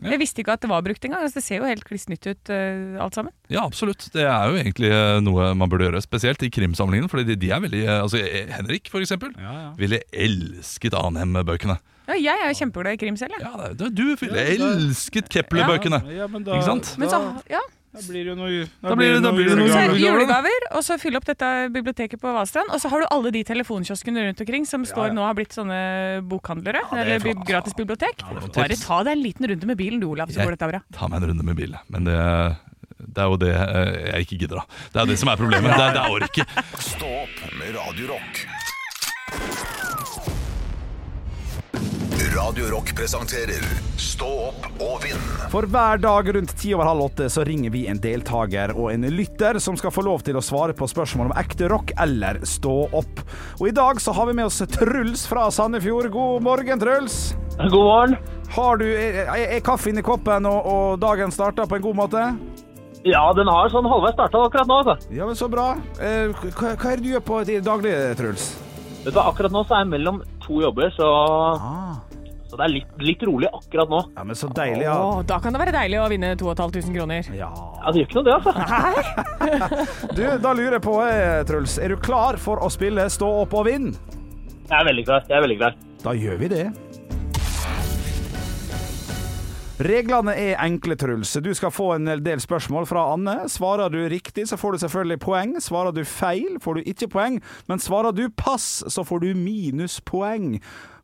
Speaker 4: Jeg visste ikke at det var brukt engang. Altså, det ser jo helt kliss nytt ut eh, alt sammen.
Speaker 3: Ja, absolutt. Det er jo egentlig eh, noe man burde gjøre, spesielt i krimsamlingene, fordi de, de er veldig eh, Altså, eh, Henrik, for eksempel, ville elsket Anhem-bøkene.
Speaker 4: Ja, jeg er jo kjempeglad i krim selv, jeg.
Speaker 3: Ja, det- du ville elsket Kepler-bøkene.
Speaker 2: Ja, men da,
Speaker 3: Ikke sant?
Speaker 4: Men så, ja.
Speaker 2: Da blir det jo noe
Speaker 3: Da blir det- da blir det noe
Speaker 4: så er det
Speaker 3: julegave.
Speaker 4: julegaver, og så fylle opp dette biblioteket på Valstrand. Og så har du alle de telefonkioskene rundt omkring som står nå har blitt sånne bokhandlere. eller bi- gratis bibliotek.
Speaker 3: noen
Speaker 4: Bare
Speaker 3: tips.
Speaker 4: ta deg en liten runde med bilen du, Olav, så
Speaker 3: Jeg-
Speaker 4: går dette bra.
Speaker 3: Ta meg en runde med bil, men det det er jo det eh, jeg ikke gidder, da. Det er det som er problemet. Det er, det er orket.
Speaker 1: Stå opp med Radio Rock. Radio Rock presenterer Stå opp og vinn
Speaker 2: For hver dag rundt ti over halv åtte så ringer vi en deltaker og en lytter som skal få lov til å svare på spørsmål om ekte rock eller stå opp. Og i dag så har vi med oss Truls fra Sandefjord. God morgen, Truls.
Speaker 8: God morgen.
Speaker 2: Har du, er, er er kaffen i koppen og, og dagen starta på en god måte?
Speaker 8: Ja, den har sånn halvveis starta akkurat nå. altså.
Speaker 2: Ja, men så bra. Eh, hva, hva er det du gjør på til daglig, Truls?
Speaker 8: Vet du, hva, Akkurat nå så er jeg mellom to jobber, så,
Speaker 2: Ah.
Speaker 8: så det er litt, litt rolig akkurat nå.
Speaker 2: Ja, men så deilig, ja.
Speaker 4: Å, da kan det være deilig å vinne 2500 kroner.
Speaker 2: ja.
Speaker 8: Ja, Det gjør ikke noe, det, altså.
Speaker 2: Du, da lurer jeg på, eh, Truls, er du klar for å spille Stå opp og vinn?
Speaker 8: Jeg er veldig klar. jeg er veldig klar.
Speaker 2: Da gjør vi det. Reglene er enkle, Truls. Du skal få en del spørsmål fra Anne. Svarer du riktig, så får du selvfølgelig poeng. Svarer du feil, får du ikke poeng. Men svarer du pass, så får du minuspoeng.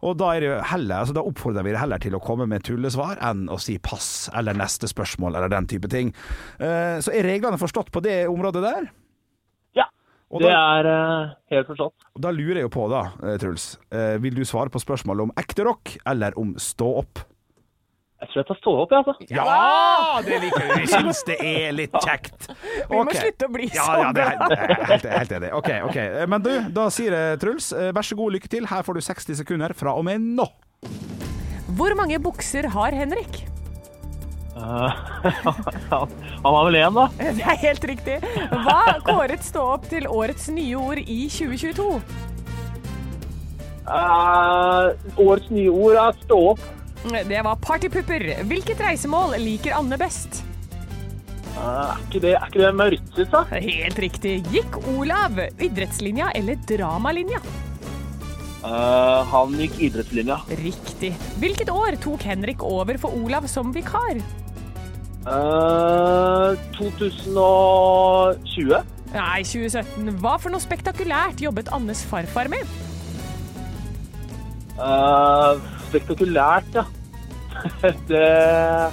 Speaker 2: Og da, er det jo heller, altså da oppfordrer vi deg heller til å komme med tullesvar enn å si pass eller neste spørsmål eller den type ting. Eh, Så er reglene forstått på det området der?
Speaker 8: Ja,
Speaker 2: Og
Speaker 8: det
Speaker 2: da-
Speaker 8: er eh, helt forstått.
Speaker 2: Og Da lurer jeg jo på, da, eh, Truls. eh, Vil du svare på spørsmålet om ekte rock eller om stå opp?
Speaker 8: Jeg tror jeg tar stå opp, jeg, altså.
Speaker 2: Ja! Det liker vi. Vi syns det er litt kjekt.
Speaker 4: Vi må
Speaker 2: Ok.
Speaker 4: slutte å bli
Speaker 2: Ja,
Speaker 4: sånn.
Speaker 2: ja, det er jeg er helt, helt enig. Ok, ok. Eh, Men du, da sier jeg, Truls, eh, vær så god, lykke til. Her får du 60 sekunder fra og med nå.
Speaker 4: Hvor mange bukser har Henrik?
Speaker 8: Eh, han han har vel én, da.
Speaker 4: Det er helt riktig. Hva kåret Stå opp til årets nye ord i 2022?
Speaker 8: Eh, årets nye ord er stå opp.
Speaker 4: Det var partypupper. Hvilket reisemål liker Anne best?
Speaker 8: Eh, er, ikke det, er ikke det Mauritius, da?
Speaker 4: Helt riktig. Gikk Olav idrettslinja eller dramalinja?
Speaker 8: Eh, han gikk idrettslinja.
Speaker 4: Riktig. Hvilket år tok Henrik over for Olav som vikar?
Speaker 8: Eh, 2020.
Speaker 4: Nei, 2017. Hva for noe spektakulært jobbet Annes farfar med?
Speaker 8: Eh, spektakulært, ja. det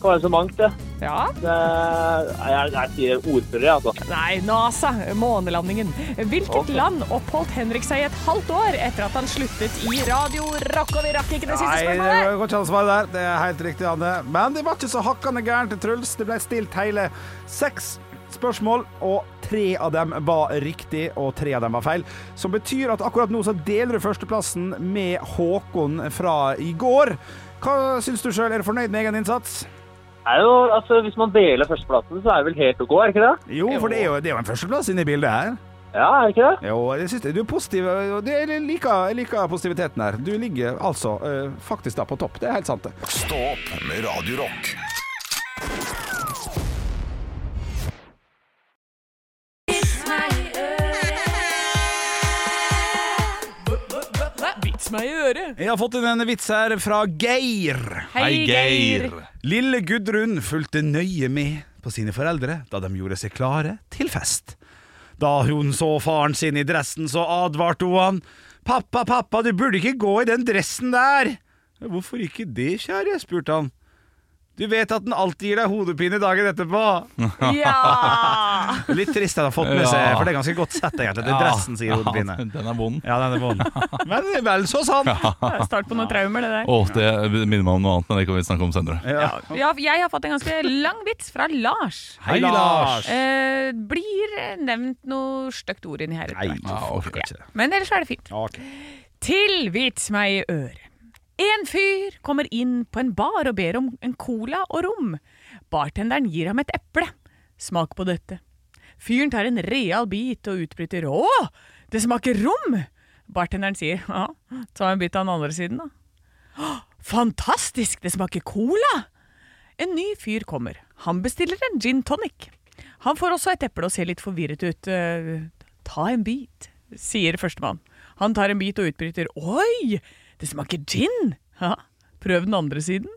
Speaker 8: kan være så mangt, det.
Speaker 4: Ja,
Speaker 8: det nei, jeg, jeg sier ordfører, jeg, altså.
Speaker 4: nei, NASA, månelandingen. Hvilket
Speaker 8: Ok.
Speaker 4: land oppholdt Henrik seg i et halvt år etter at han sluttet i Radio Rock? Og vi rakk ikke det siste
Speaker 2: Nei,
Speaker 4: spørsmålet!
Speaker 2: det går ikke an å svare der. Det er helt riktig, Anne. Men det var ikke så hakkande gærent til Truls. Det ble stilt hele seks spørsmål, og tre av dem var riktig, og tre av dem var feil. Som betyr at akkurat nå så deler du førsteplassen med Håkon fra i går. Hva syns du sjøl? Er du fornøyd med egen innsats?
Speaker 8: Det Er jo, altså. Hvis man deler førsteplassen, så er det vel helt OK, er det ikke det?
Speaker 2: Jo, for det er jo, det er jo en førsteplass inne i bildet her.
Speaker 8: Ja, er det ikke det?
Speaker 2: Jo, jeg synes det. Du er positiv. og det- Jeg liker, jeg liker positiviteten her. Du ligger altså eh, faktisk da på topp. Det er helt sant, det.
Speaker 1: Stå opp med Radio Rock.
Speaker 4: Vits meg i øret.
Speaker 2: Jeg har fått inn en vits her fra Geir.
Speaker 4: Hei, Geir.
Speaker 2: Lille Gudrun fulgte nøye med på sine foreldre da de gjorde seg klare til fest. Da hun så faren sin i dressen, så advarte hun han. Pappa, pappa, du burde ikke gå i den dressen der. Hvorfor ikke det, kjære? spurte han. Du vet at den alltid gir deg hodepine dagen etterpå.
Speaker 4: Ja!
Speaker 2: Litt trist at han har fått med
Speaker 3: Ja.
Speaker 2: seg, for det er ganske godt sett egentlig. Det er dressen, sier hodepine.
Speaker 3: Ja, Ah, den er vond.
Speaker 2: Ja, den er vond. Men det er vel så sant.
Speaker 4: Det er Start på noen traumer, det der.
Speaker 3: Åh, det minner meg om noe annet, men det kan vi snakke om senere.
Speaker 2: Ja.
Speaker 4: Ja, jeg har fått en ganske lang vits fra Lars.
Speaker 2: Hei, Lars.
Speaker 4: Eh, blir nevnt noe stygt ord inni her. etter
Speaker 2: Nei,
Speaker 4: hvert.
Speaker 2: du orker
Speaker 4: Ja.
Speaker 2: ikke det.
Speaker 4: Men ellers er det fint.
Speaker 2: Ok.
Speaker 4: Til vits meg i øret. En fyr kommer inn på en bar og ber om en cola og rom. Bartenderen gir ham et eple. Smak på dette. Fyren tar en real bit og utbryter 'Å, det smaker rom'. Bartenderen sier 'Ja, ta en bit av den andre siden, da'. «Å, Fantastisk, det smaker cola! En ny fyr kommer. Han bestiller en gin tonic. Han får også et eple og ser litt forvirret ut. Eh, Ta en bit, sier førstemann. Han tar en bit og utbryter. Oi, det smaker gin! Ja, prøv den andre siden.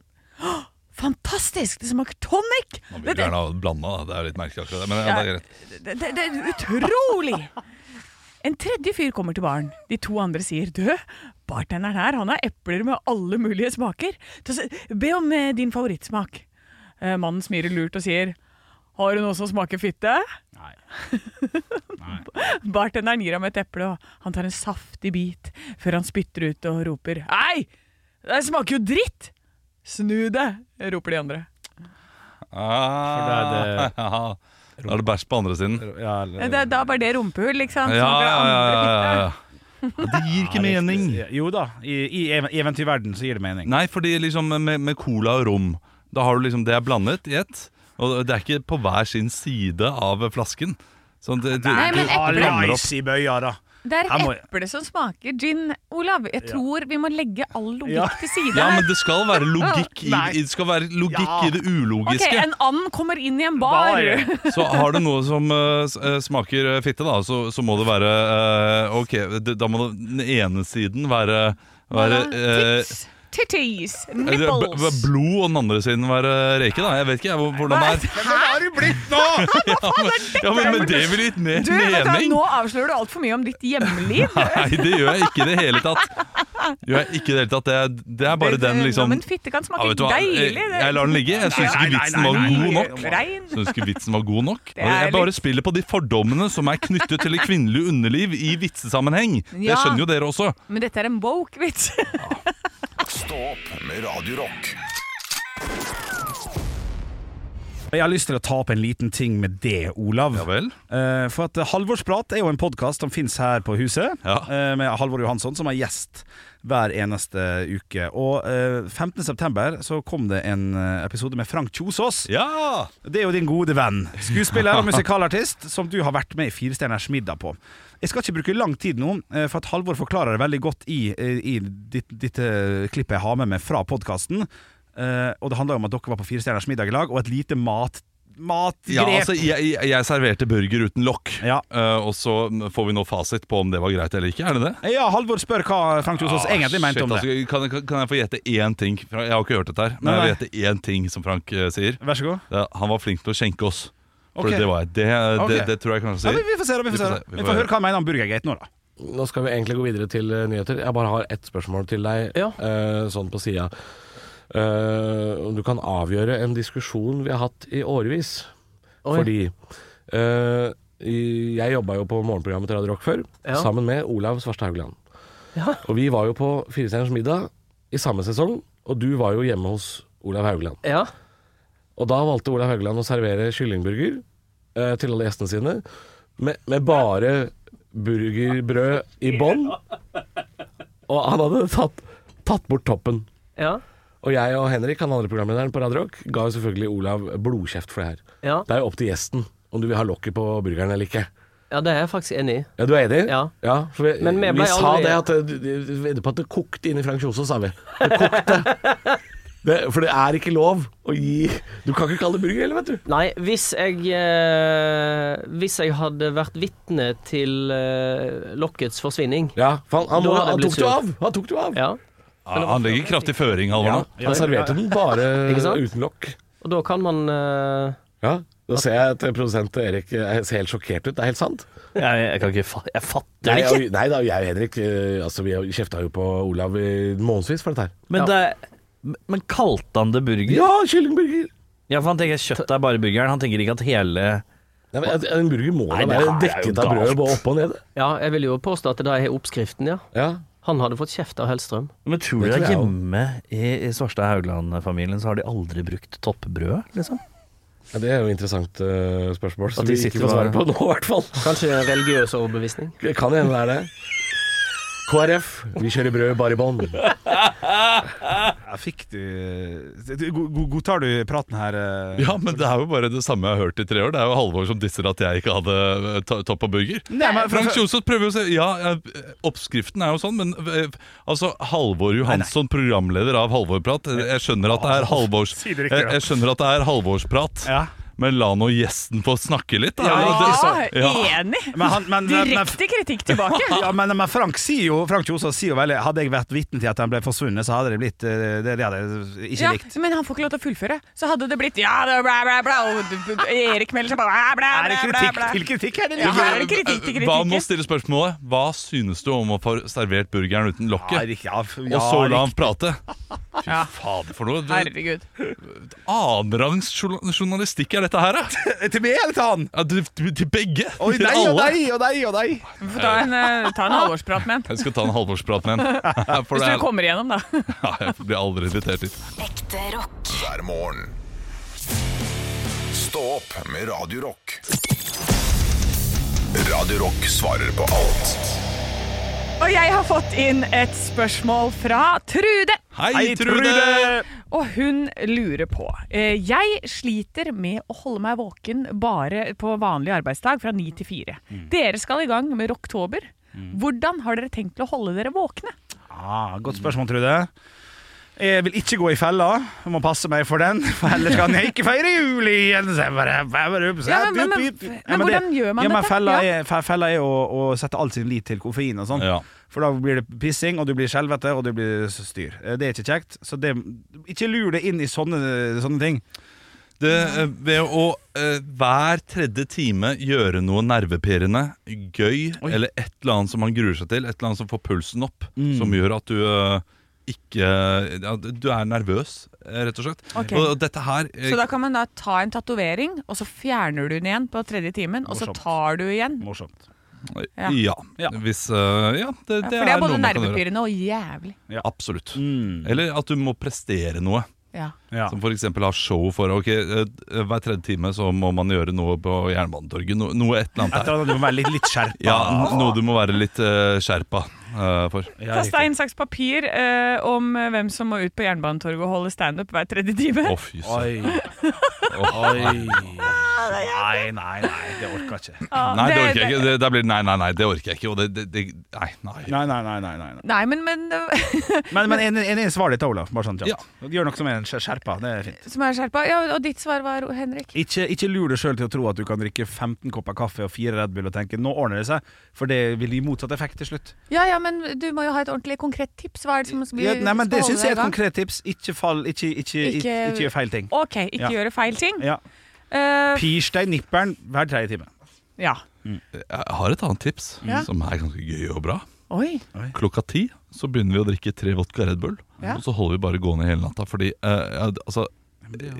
Speaker 4: «Å, Fantastisk, det smaker tonic!
Speaker 3: Man blir
Speaker 4: Det, det,
Speaker 3: gjerne blanda, det er litt merkelig akkurat det. Men ja, det er greit.
Speaker 4: det, det, det er utrolig! En tredje fyr kommer til baren. De to andre sier du, bartenderen her han har epler med alle mulige smaker. Ta se- Be om eh, din favorittsmak. Eh, Mannen smiler lurt og sier har du noe som smaker fitte? Bartenderen gir ham et eple, og han tar en saftig bit før han spytter ut og roper Hei! Det smaker jo dritt! Snu det! roper de andre.
Speaker 3: Ah, ja. Da er det bæsj på andre siden.
Speaker 2: Ja, eller-
Speaker 4: Eh, Da, da var det rumpehull, ikke sant?
Speaker 3: Ja, ja,
Speaker 4: Smaker det
Speaker 3: ja,
Speaker 4: andre
Speaker 3: ja,
Speaker 4: fitte.
Speaker 3: ja, ja. Det gir ikke mening.
Speaker 2: Jo da, i, i ev- eventyrverden så gir det mening.
Speaker 3: Nei, fordi liksom med, med cola og rom Da har du liksom det er blandet i ett Og det er ikke på hver sin side av flasken Sånn, det, du,
Speaker 4: Nei, men
Speaker 3: du,
Speaker 4: eple-
Speaker 3: blander opp.
Speaker 2: Allais i bøya, da.
Speaker 4: Det er
Speaker 2: Jeg må-
Speaker 4: eple som smaker gin, Olav. Jeg tror vi må legge all logikk
Speaker 2: Ja.
Speaker 4: til side.
Speaker 3: Ja,
Speaker 4: her.
Speaker 3: men det skal være logikk i,
Speaker 2: Nei.
Speaker 3: i- det, skal være logikk
Speaker 2: Ja.
Speaker 3: i det
Speaker 4: Ok,
Speaker 3: ulogiske
Speaker 4: En and kommer inn i en bar.
Speaker 2: Bar.
Speaker 3: Så har du noe som eh, s- eh, smaker eh, fitte da Så, så må det være eh, Ok, det, da må det, den ene siden være, være
Speaker 4: Hva da?
Speaker 3: eh,
Speaker 4: Tits. titties,
Speaker 3: Det er eh, b- b-
Speaker 4: nipples.
Speaker 3: Blod og den andre siden var eh, reke, da. Jeg vet ikke jeg, hvor- hvordan det er.
Speaker 2: Hva har du blitt nå?!
Speaker 3: Ja, men, men det vil gitt mer
Speaker 4: Du, vet du, hva,
Speaker 3: mening!
Speaker 4: Nå avslører du altfor mye om ditt hjemmeliv.
Speaker 3: Nei, det gjør jeg ikke i det hele tatt. Gjør jeg ikke i Det hele tatt Det er, det er bare den liksom
Speaker 4: Men fitte kan
Speaker 3: Ja,
Speaker 4: smake
Speaker 3: vet du hva?
Speaker 4: deilig.
Speaker 3: Jeg, jeg lar den ligge. Jeg syns
Speaker 2: Nei,
Speaker 3: ikke
Speaker 2: nei,
Speaker 3: vitsen
Speaker 2: nei,
Speaker 3: var
Speaker 2: nei,
Speaker 3: god
Speaker 2: nei.
Speaker 3: nok.
Speaker 4: Rein.
Speaker 3: Syns ikke vitsen var god nok.
Speaker 4: er
Speaker 3: Jeg bare spiller på de fordommene som er knyttet til det kvinnelige underliv i vitsesammenheng. Det
Speaker 4: Ja.
Speaker 3: skjønner jo dere også.
Speaker 4: Men dette er en woke vits.
Speaker 1: Stå opp med Radio Rock.
Speaker 2: Jeg har lyst til å ta opp en liten ting med det, Olav.
Speaker 3: Ja vel.
Speaker 2: Eh, for at Halvorsprat er jo en podkast som fins her på huset,
Speaker 3: Ja.
Speaker 2: eh, med Halvor Johansson som er gjest hver eneste uke. Og eh, 15. 15.9 så kom det en eh, episode med Frank Kjosås.
Speaker 3: Ja!
Speaker 2: Det er jo din gode venn. Skuespiller og musikalartist som du har vært med i Firestjerners middag på. Jeg skal ikke bruke lang tid nå, eh, for at Halvor forklarer det veldig godt i, eh, i ditt, ditt eh, klippet jeg har med meg fra podkasten. og det handler om at dere var på Firestjerners middag i lag, og et lite mat, matgrep.
Speaker 3: Ja, altså, jeg, jeg- jeg serverte burger uten lokk,
Speaker 2: Ja.
Speaker 3: Eh, og så får vi nå fasit på om det var greit eller ikke. Er det det?
Speaker 2: Ja, Halvor spør hva Frank Kjosås
Speaker 3: Ah,
Speaker 2: egentlig mente
Speaker 3: shit,
Speaker 2: om det.
Speaker 3: altså, kan, kan- kan jeg få gjette én ting? Fra- Jeg har ikke hørt dette her, men
Speaker 2: Nei,
Speaker 3: jeg vil gjette én ting som Frank eh, sier.
Speaker 2: Vær så god.
Speaker 3: Det er, Han var flink til å skjenke oss. For
Speaker 2: Ok.
Speaker 3: det var jeg. Det, det,
Speaker 2: Ok.
Speaker 3: det tror jeg kanskje
Speaker 2: Ja,
Speaker 3: han
Speaker 2: vi,
Speaker 3: sier.
Speaker 2: vi får se, da. Vi får, se, da. vi får høre hva han mener om Burgergate nå, da.
Speaker 9: Nå skal vi egentlig gå videre til eh, nyheter. Jeg bare har ett spørsmål til deg, eh, sånn på sida. Eh, om du kan avgjøre en diskusjon vi har hatt i årevis. Fordi eh, i- jeg jobba jo på morgenprogrammet til Radio Rock før, sammen med Olav Svarstad Haugland. Og vi var jo på Firestjerners middag i samme sesong, og du var jo hjemme hos Olav Haugland. Og da valgte Olav Haugland å servere kyllingburger eh, til alle gjestene sine, med, med bare burgerbrød i bånn. Og han hadde tatt, tatt bort toppen.
Speaker 10: Ja,
Speaker 9: Og jeg og Henrik, han andre programlederen på Radio Rock, ga jo selvfølgelig Olav blodkjeft for det her.
Speaker 10: ja.
Speaker 9: Det er jo opp til gjesten om du vil ha lokket på burgeren eller ikke.
Speaker 10: ja det er jeg faktisk enig i.
Speaker 9: Ja, Du er enig?
Speaker 10: Ja.
Speaker 9: for vi,
Speaker 10: Men vi
Speaker 9: vi
Speaker 10: ble
Speaker 9: sa
Speaker 10: aldri-
Speaker 9: det at eh, vi Vedder på at det kokte inn i Frank Kjosås, sa vi. Det kokte. Det, for det er ikke lov å gi Du kan ikke kalle det burger heller, vet du.
Speaker 10: Nei, hvis jeg eh, Hvis jeg hadde vært vitne til eh, lokkets forsvinning
Speaker 9: Ja, for han, han,
Speaker 10: Da
Speaker 9: må-
Speaker 10: hadde jeg
Speaker 9: han
Speaker 10: blitt
Speaker 9: tok det jo
Speaker 10: sur.
Speaker 9: av! Han tok det jo av.
Speaker 10: Ja,
Speaker 3: Ah, han legger kraftig føring, Halvor. nå.
Speaker 9: Han serverte den bare
Speaker 10: Ikke sant?
Speaker 9: uten lokk.
Speaker 10: og da kan man eh,
Speaker 9: Ja, Da ser jeg at produsent Erik eh, ser helt sjokkert ut. Det er helt sant.
Speaker 10: jeg, kan ikke fa Jeg fatter
Speaker 9: Nei, og- nei da, jeg og Henrik eh, altså, vi har- kjefta jo på Olav i månedsvis for dette her.
Speaker 11: Men, det, men kalte han det burger?
Speaker 9: Ja, kyllingburger!
Speaker 11: Ja, for han tenker kjøtt er bare burgeren. Han tenker ikke at hele
Speaker 9: Nei, men, eh, en burger må da
Speaker 11: Nei, det
Speaker 9: være
Speaker 11: her er jo
Speaker 9: dekket av brød
Speaker 11: galt.
Speaker 9: både oppe og nede.
Speaker 10: Ja, jeg vil jo påstå at det er oppskriften, ja.
Speaker 9: Ja.
Speaker 10: Han hadde fått kjeft av Hellstrøm.
Speaker 11: Men tror du at
Speaker 9: Det tror jeg også.
Speaker 11: hjemme i, i Svarstad Haugland-familien så har de aldri brukt toppbrød, liksom?
Speaker 9: Ja, det er jo et interessant eh, spørsmål, som
Speaker 11: At de
Speaker 9: vi ikke
Speaker 11: sitter
Speaker 9: får svare
Speaker 11: bare-
Speaker 9: på nå, i hvert fall.
Speaker 10: Kanskje det er en religiøs overbevisning.
Speaker 9: Det kan hende det er det. KrF, vi kjører brød bare i bånn.
Speaker 2: Ja, fikk du eh, du- god- god- Godtar du praten her? eh?
Speaker 3: Ja, men det er jo bare det samme jeg har hørt i tre år. Det er jo Halvor som disser at jeg ikke hadde eh, to- topp og burger.
Speaker 2: Nei, men
Speaker 3: Frank
Speaker 2: fra-
Speaker 3: Kjosås prøver jo å si Ja, eh, oppskriften er jo sånn, men eh, altså Halvor Johansson, programleder av Halvorprat. eh, Jeg skjønner at det er Halvors
Speaker 2: Si det
Speaker 3: Jeg,
Speaker 2: riktig, ja.
Speaker 3: jeg skjønner at det er Halvorsprat,
Speaker 2: Ja.
Speaker 3: men la nå gjesten få snakke litt, da.
Speaker 4: Ja,
Speaker 3: Det- ja.
Speaker 4: enig.
Speaker 2: Men han- men- men- men-
Speaker 4: Direkte kritikk tilbake.
Speaker 2: Ja, men, men Frank sier jo Frank Kjosås sier jo veldig Hadde jeg vært vitne til at han ble forsvunnet, så hadde det blitt eh, Det, det hadde jeg ikke
Speaker 4: Ja,
Speaker 2: likt.
Speaker 4: men han får ikke lov til å fullføre. Så hadde det blitt ja, det er bla, bla, bla, og du- du- Erik melder seg på. Bla, bla,
Speaker 2: Er det
Speaker 4: bla, bla,
Speaker 2: kritikk
Speaker 4: bla.
Speaker 2: til kritikk? Er det
Speaker 4: Ja,
Speaker 2: det?
Speaker 4: er det kritikk til
Speaker 3: Hva må
Speaker 4: kritikken?
Speaker 3: stille spørsmålet? Hva synes du om å få servert burgeren uten
Speaker 2: Ja,
Speaker 3: lokket?
Speaker 2: riktig, ja, f- ja,
Speaker 3: Og så la
Speaker 2: riktig.
Speaker 3: han prate. Fy fader, for noe Det-
Speaker 4: Herregud.
Speaker 3: annenrangs journa- journalistikk er dette her, da?
Speaker 2: Til meg eller til han?
Speaker 3: Ja, til, til til begge!
Speaker 2: Oi,
Speaker 3: til
Speaker 2: nei og nei og nei og nei.
Speaker 4: Vi får ta en, eh, ta en halvårsprat med han.
Speaker 3: Jeg skal ta en halvårsprat med en. For
Speaker 4: Hvis
Speaker 3: det
Speaker 4: du
Speaker 3: er,
Speaker 4: kommer igjennom, da.
Speaker 3: ja, jeg blir aldri invitert hit.
Speaker 5: Ekte rock.
Speaker 1: hver morgen. Stå opp med Radio Rock. Radio Rock svarer på alt
Speaker 4: Og jeg har fått inn et spørsmål fra Trude.
Speaker 3: Hei, Trude!
Speaker 4: Og hun lurer på eh, Jeg sliter med å holde meg våken bare på vanlig arbeidsdag fra ni til fire.
Speaker 2: Mm.
Speaker 4: Dere skal i gang med Rocktober. Hvordan har dere tenkt til å holde dere våkne?
Speaker 2: Ah, godt spørsmål, Trude. Jeg vil ikke gå i fella. Jeg må passe meg for den, for ellers kan jeg ikke feire jul igjen. Så jeg bare- jeg bare-
Speaker 4: Ja, men- men- men- men hvordan gjør man
Speaker 2: ja, men
Speaker 4: dette?
Speaker 2: Fella
Speaker 4: Ja.
Speaker 2: er, fe- fella er å, å sette all sin lit til koffein og sånn. For da blir det pissing, og du blir skjelvete, og du blir styr. Eh, Det er ikke kjekt. Så det, ikke lur deg inn i sånne, sånne ting.
Speaker 3: Det, eh, ved å eh, hver tredje time gjøre noe nervepirrende, gøy,
Speaker 2: Oi.
Speaker 3: eller et eller annet som man gruer seg til, et eller annet som får pulsen opp,
Speaker 2: Mm.
Speaker 3: som gjør at du eh, ikke ja, Du er nervøs, eh, rett og slett.
Speaker 4: Ok.
Speaker 3: Og dette her eh,
Speaker 4: Så da kan man da ta en tatovering, og så fjerner du den igjen på tredje timen, og så
Speaker 3: Morsomt.
Speaker 4: tar du igjen.
Speaker 2: Morsomt.
Speaker 4: Ja.
Speaker 3: eh, Ja. Hvis eh, Ja, det,
Speaker 4: Ja,
Speaker 3: det
Speaker 4: for det er
Speaker 3: noe
Speaker 4: både
Speaker 3: man kan gjøre.
Speaker 4: nervepirrende og jævlig.
Speaker 3: Absolutt. Eller at du må prestere noe.
Speaker 4: Ja.
Speaker 3: Som f.eks. ha show for ok, eh, Hver tredje time så må man gjøre noe på Jernbanetorget. No, noe et eller annet
Speaker 2: Etter at du må være litt, litt skjerpa.
Speaker 3: Ja, n- noe du må være litt eh, skjerpa eh, for.
Speaker 4: Ta stein, saks, papir eh, om eh, hvem som må ut på Jernbanetorget og holde standup hver tredje time.
Speaker 3: Å, fy søren.
Speaker 2: Oi. Nei, nei, nei, det orker jeg ikke.
Speaker 4: Ja,
Speaker 3: Nei, det
Speaker 4: det-
Speaker 3: orker jeg ikke. Det, der blir det nei, nei, nei, det orker jeg ikke. Og det, det, det nei, nei.
Speaker 2: Nei, nei, nei, nei, nei.
Speaker 4: Nei, men, men
Speaker 2: Men, men en, en, en svar ditt, Olav. Bare sånn, ja. Gjør noe som er en skjer- skjerpa. Det er fint.
Speaker 4: som er skjerpa. Ja, og ditt svar var, Henrik?
Speaker 2: Ikke, ikke lur deg sjøl til å tro at du kan drikke 15 kopper kaffe og 4 Red Bull og tenke 'nå ordner det seg', for det vil gi motsatt effekt til slutt.
Speaker 4: Ja, ja, men du må jo ha et ordentlig konkret tips. Hva er det som skal bli
Speaker 2: Ja, nei, men Det
Speaker 4: skal holde
Speaker 2: syns jeg er
Speaker 4: deg i
Speaker 2: et
Speaker 4: gang?
Speaker 2: konkret tips. Ikke fall Ikke, ikke, ikke, ikke,
Speaker 4: Ikke-
Speaker 2: gjør feil ting.
Speaker 4: Ok, ikke
Speaker 2: Ja.
Speaker 4: gjøre feil ting.
Speaker 2: Ja.
Speaker 4: Eh,
Speaker 2: Pirs deg i nipperen hver tredje time.
Speaker 4: ja.
Speaker 3: Jeg har et annet tips
Speaker 4: Ja.
Speaker 3: som er ganske gøy og bra.
Speaker 4: Oi.
Speaker 3: Klokka ti så begynner vi å drikke tre vodka Red Bull,
Speaker 4: Ja.
Speaker 3: og så holder vi bare gående hele natta. Fordi eh, ja, d- altså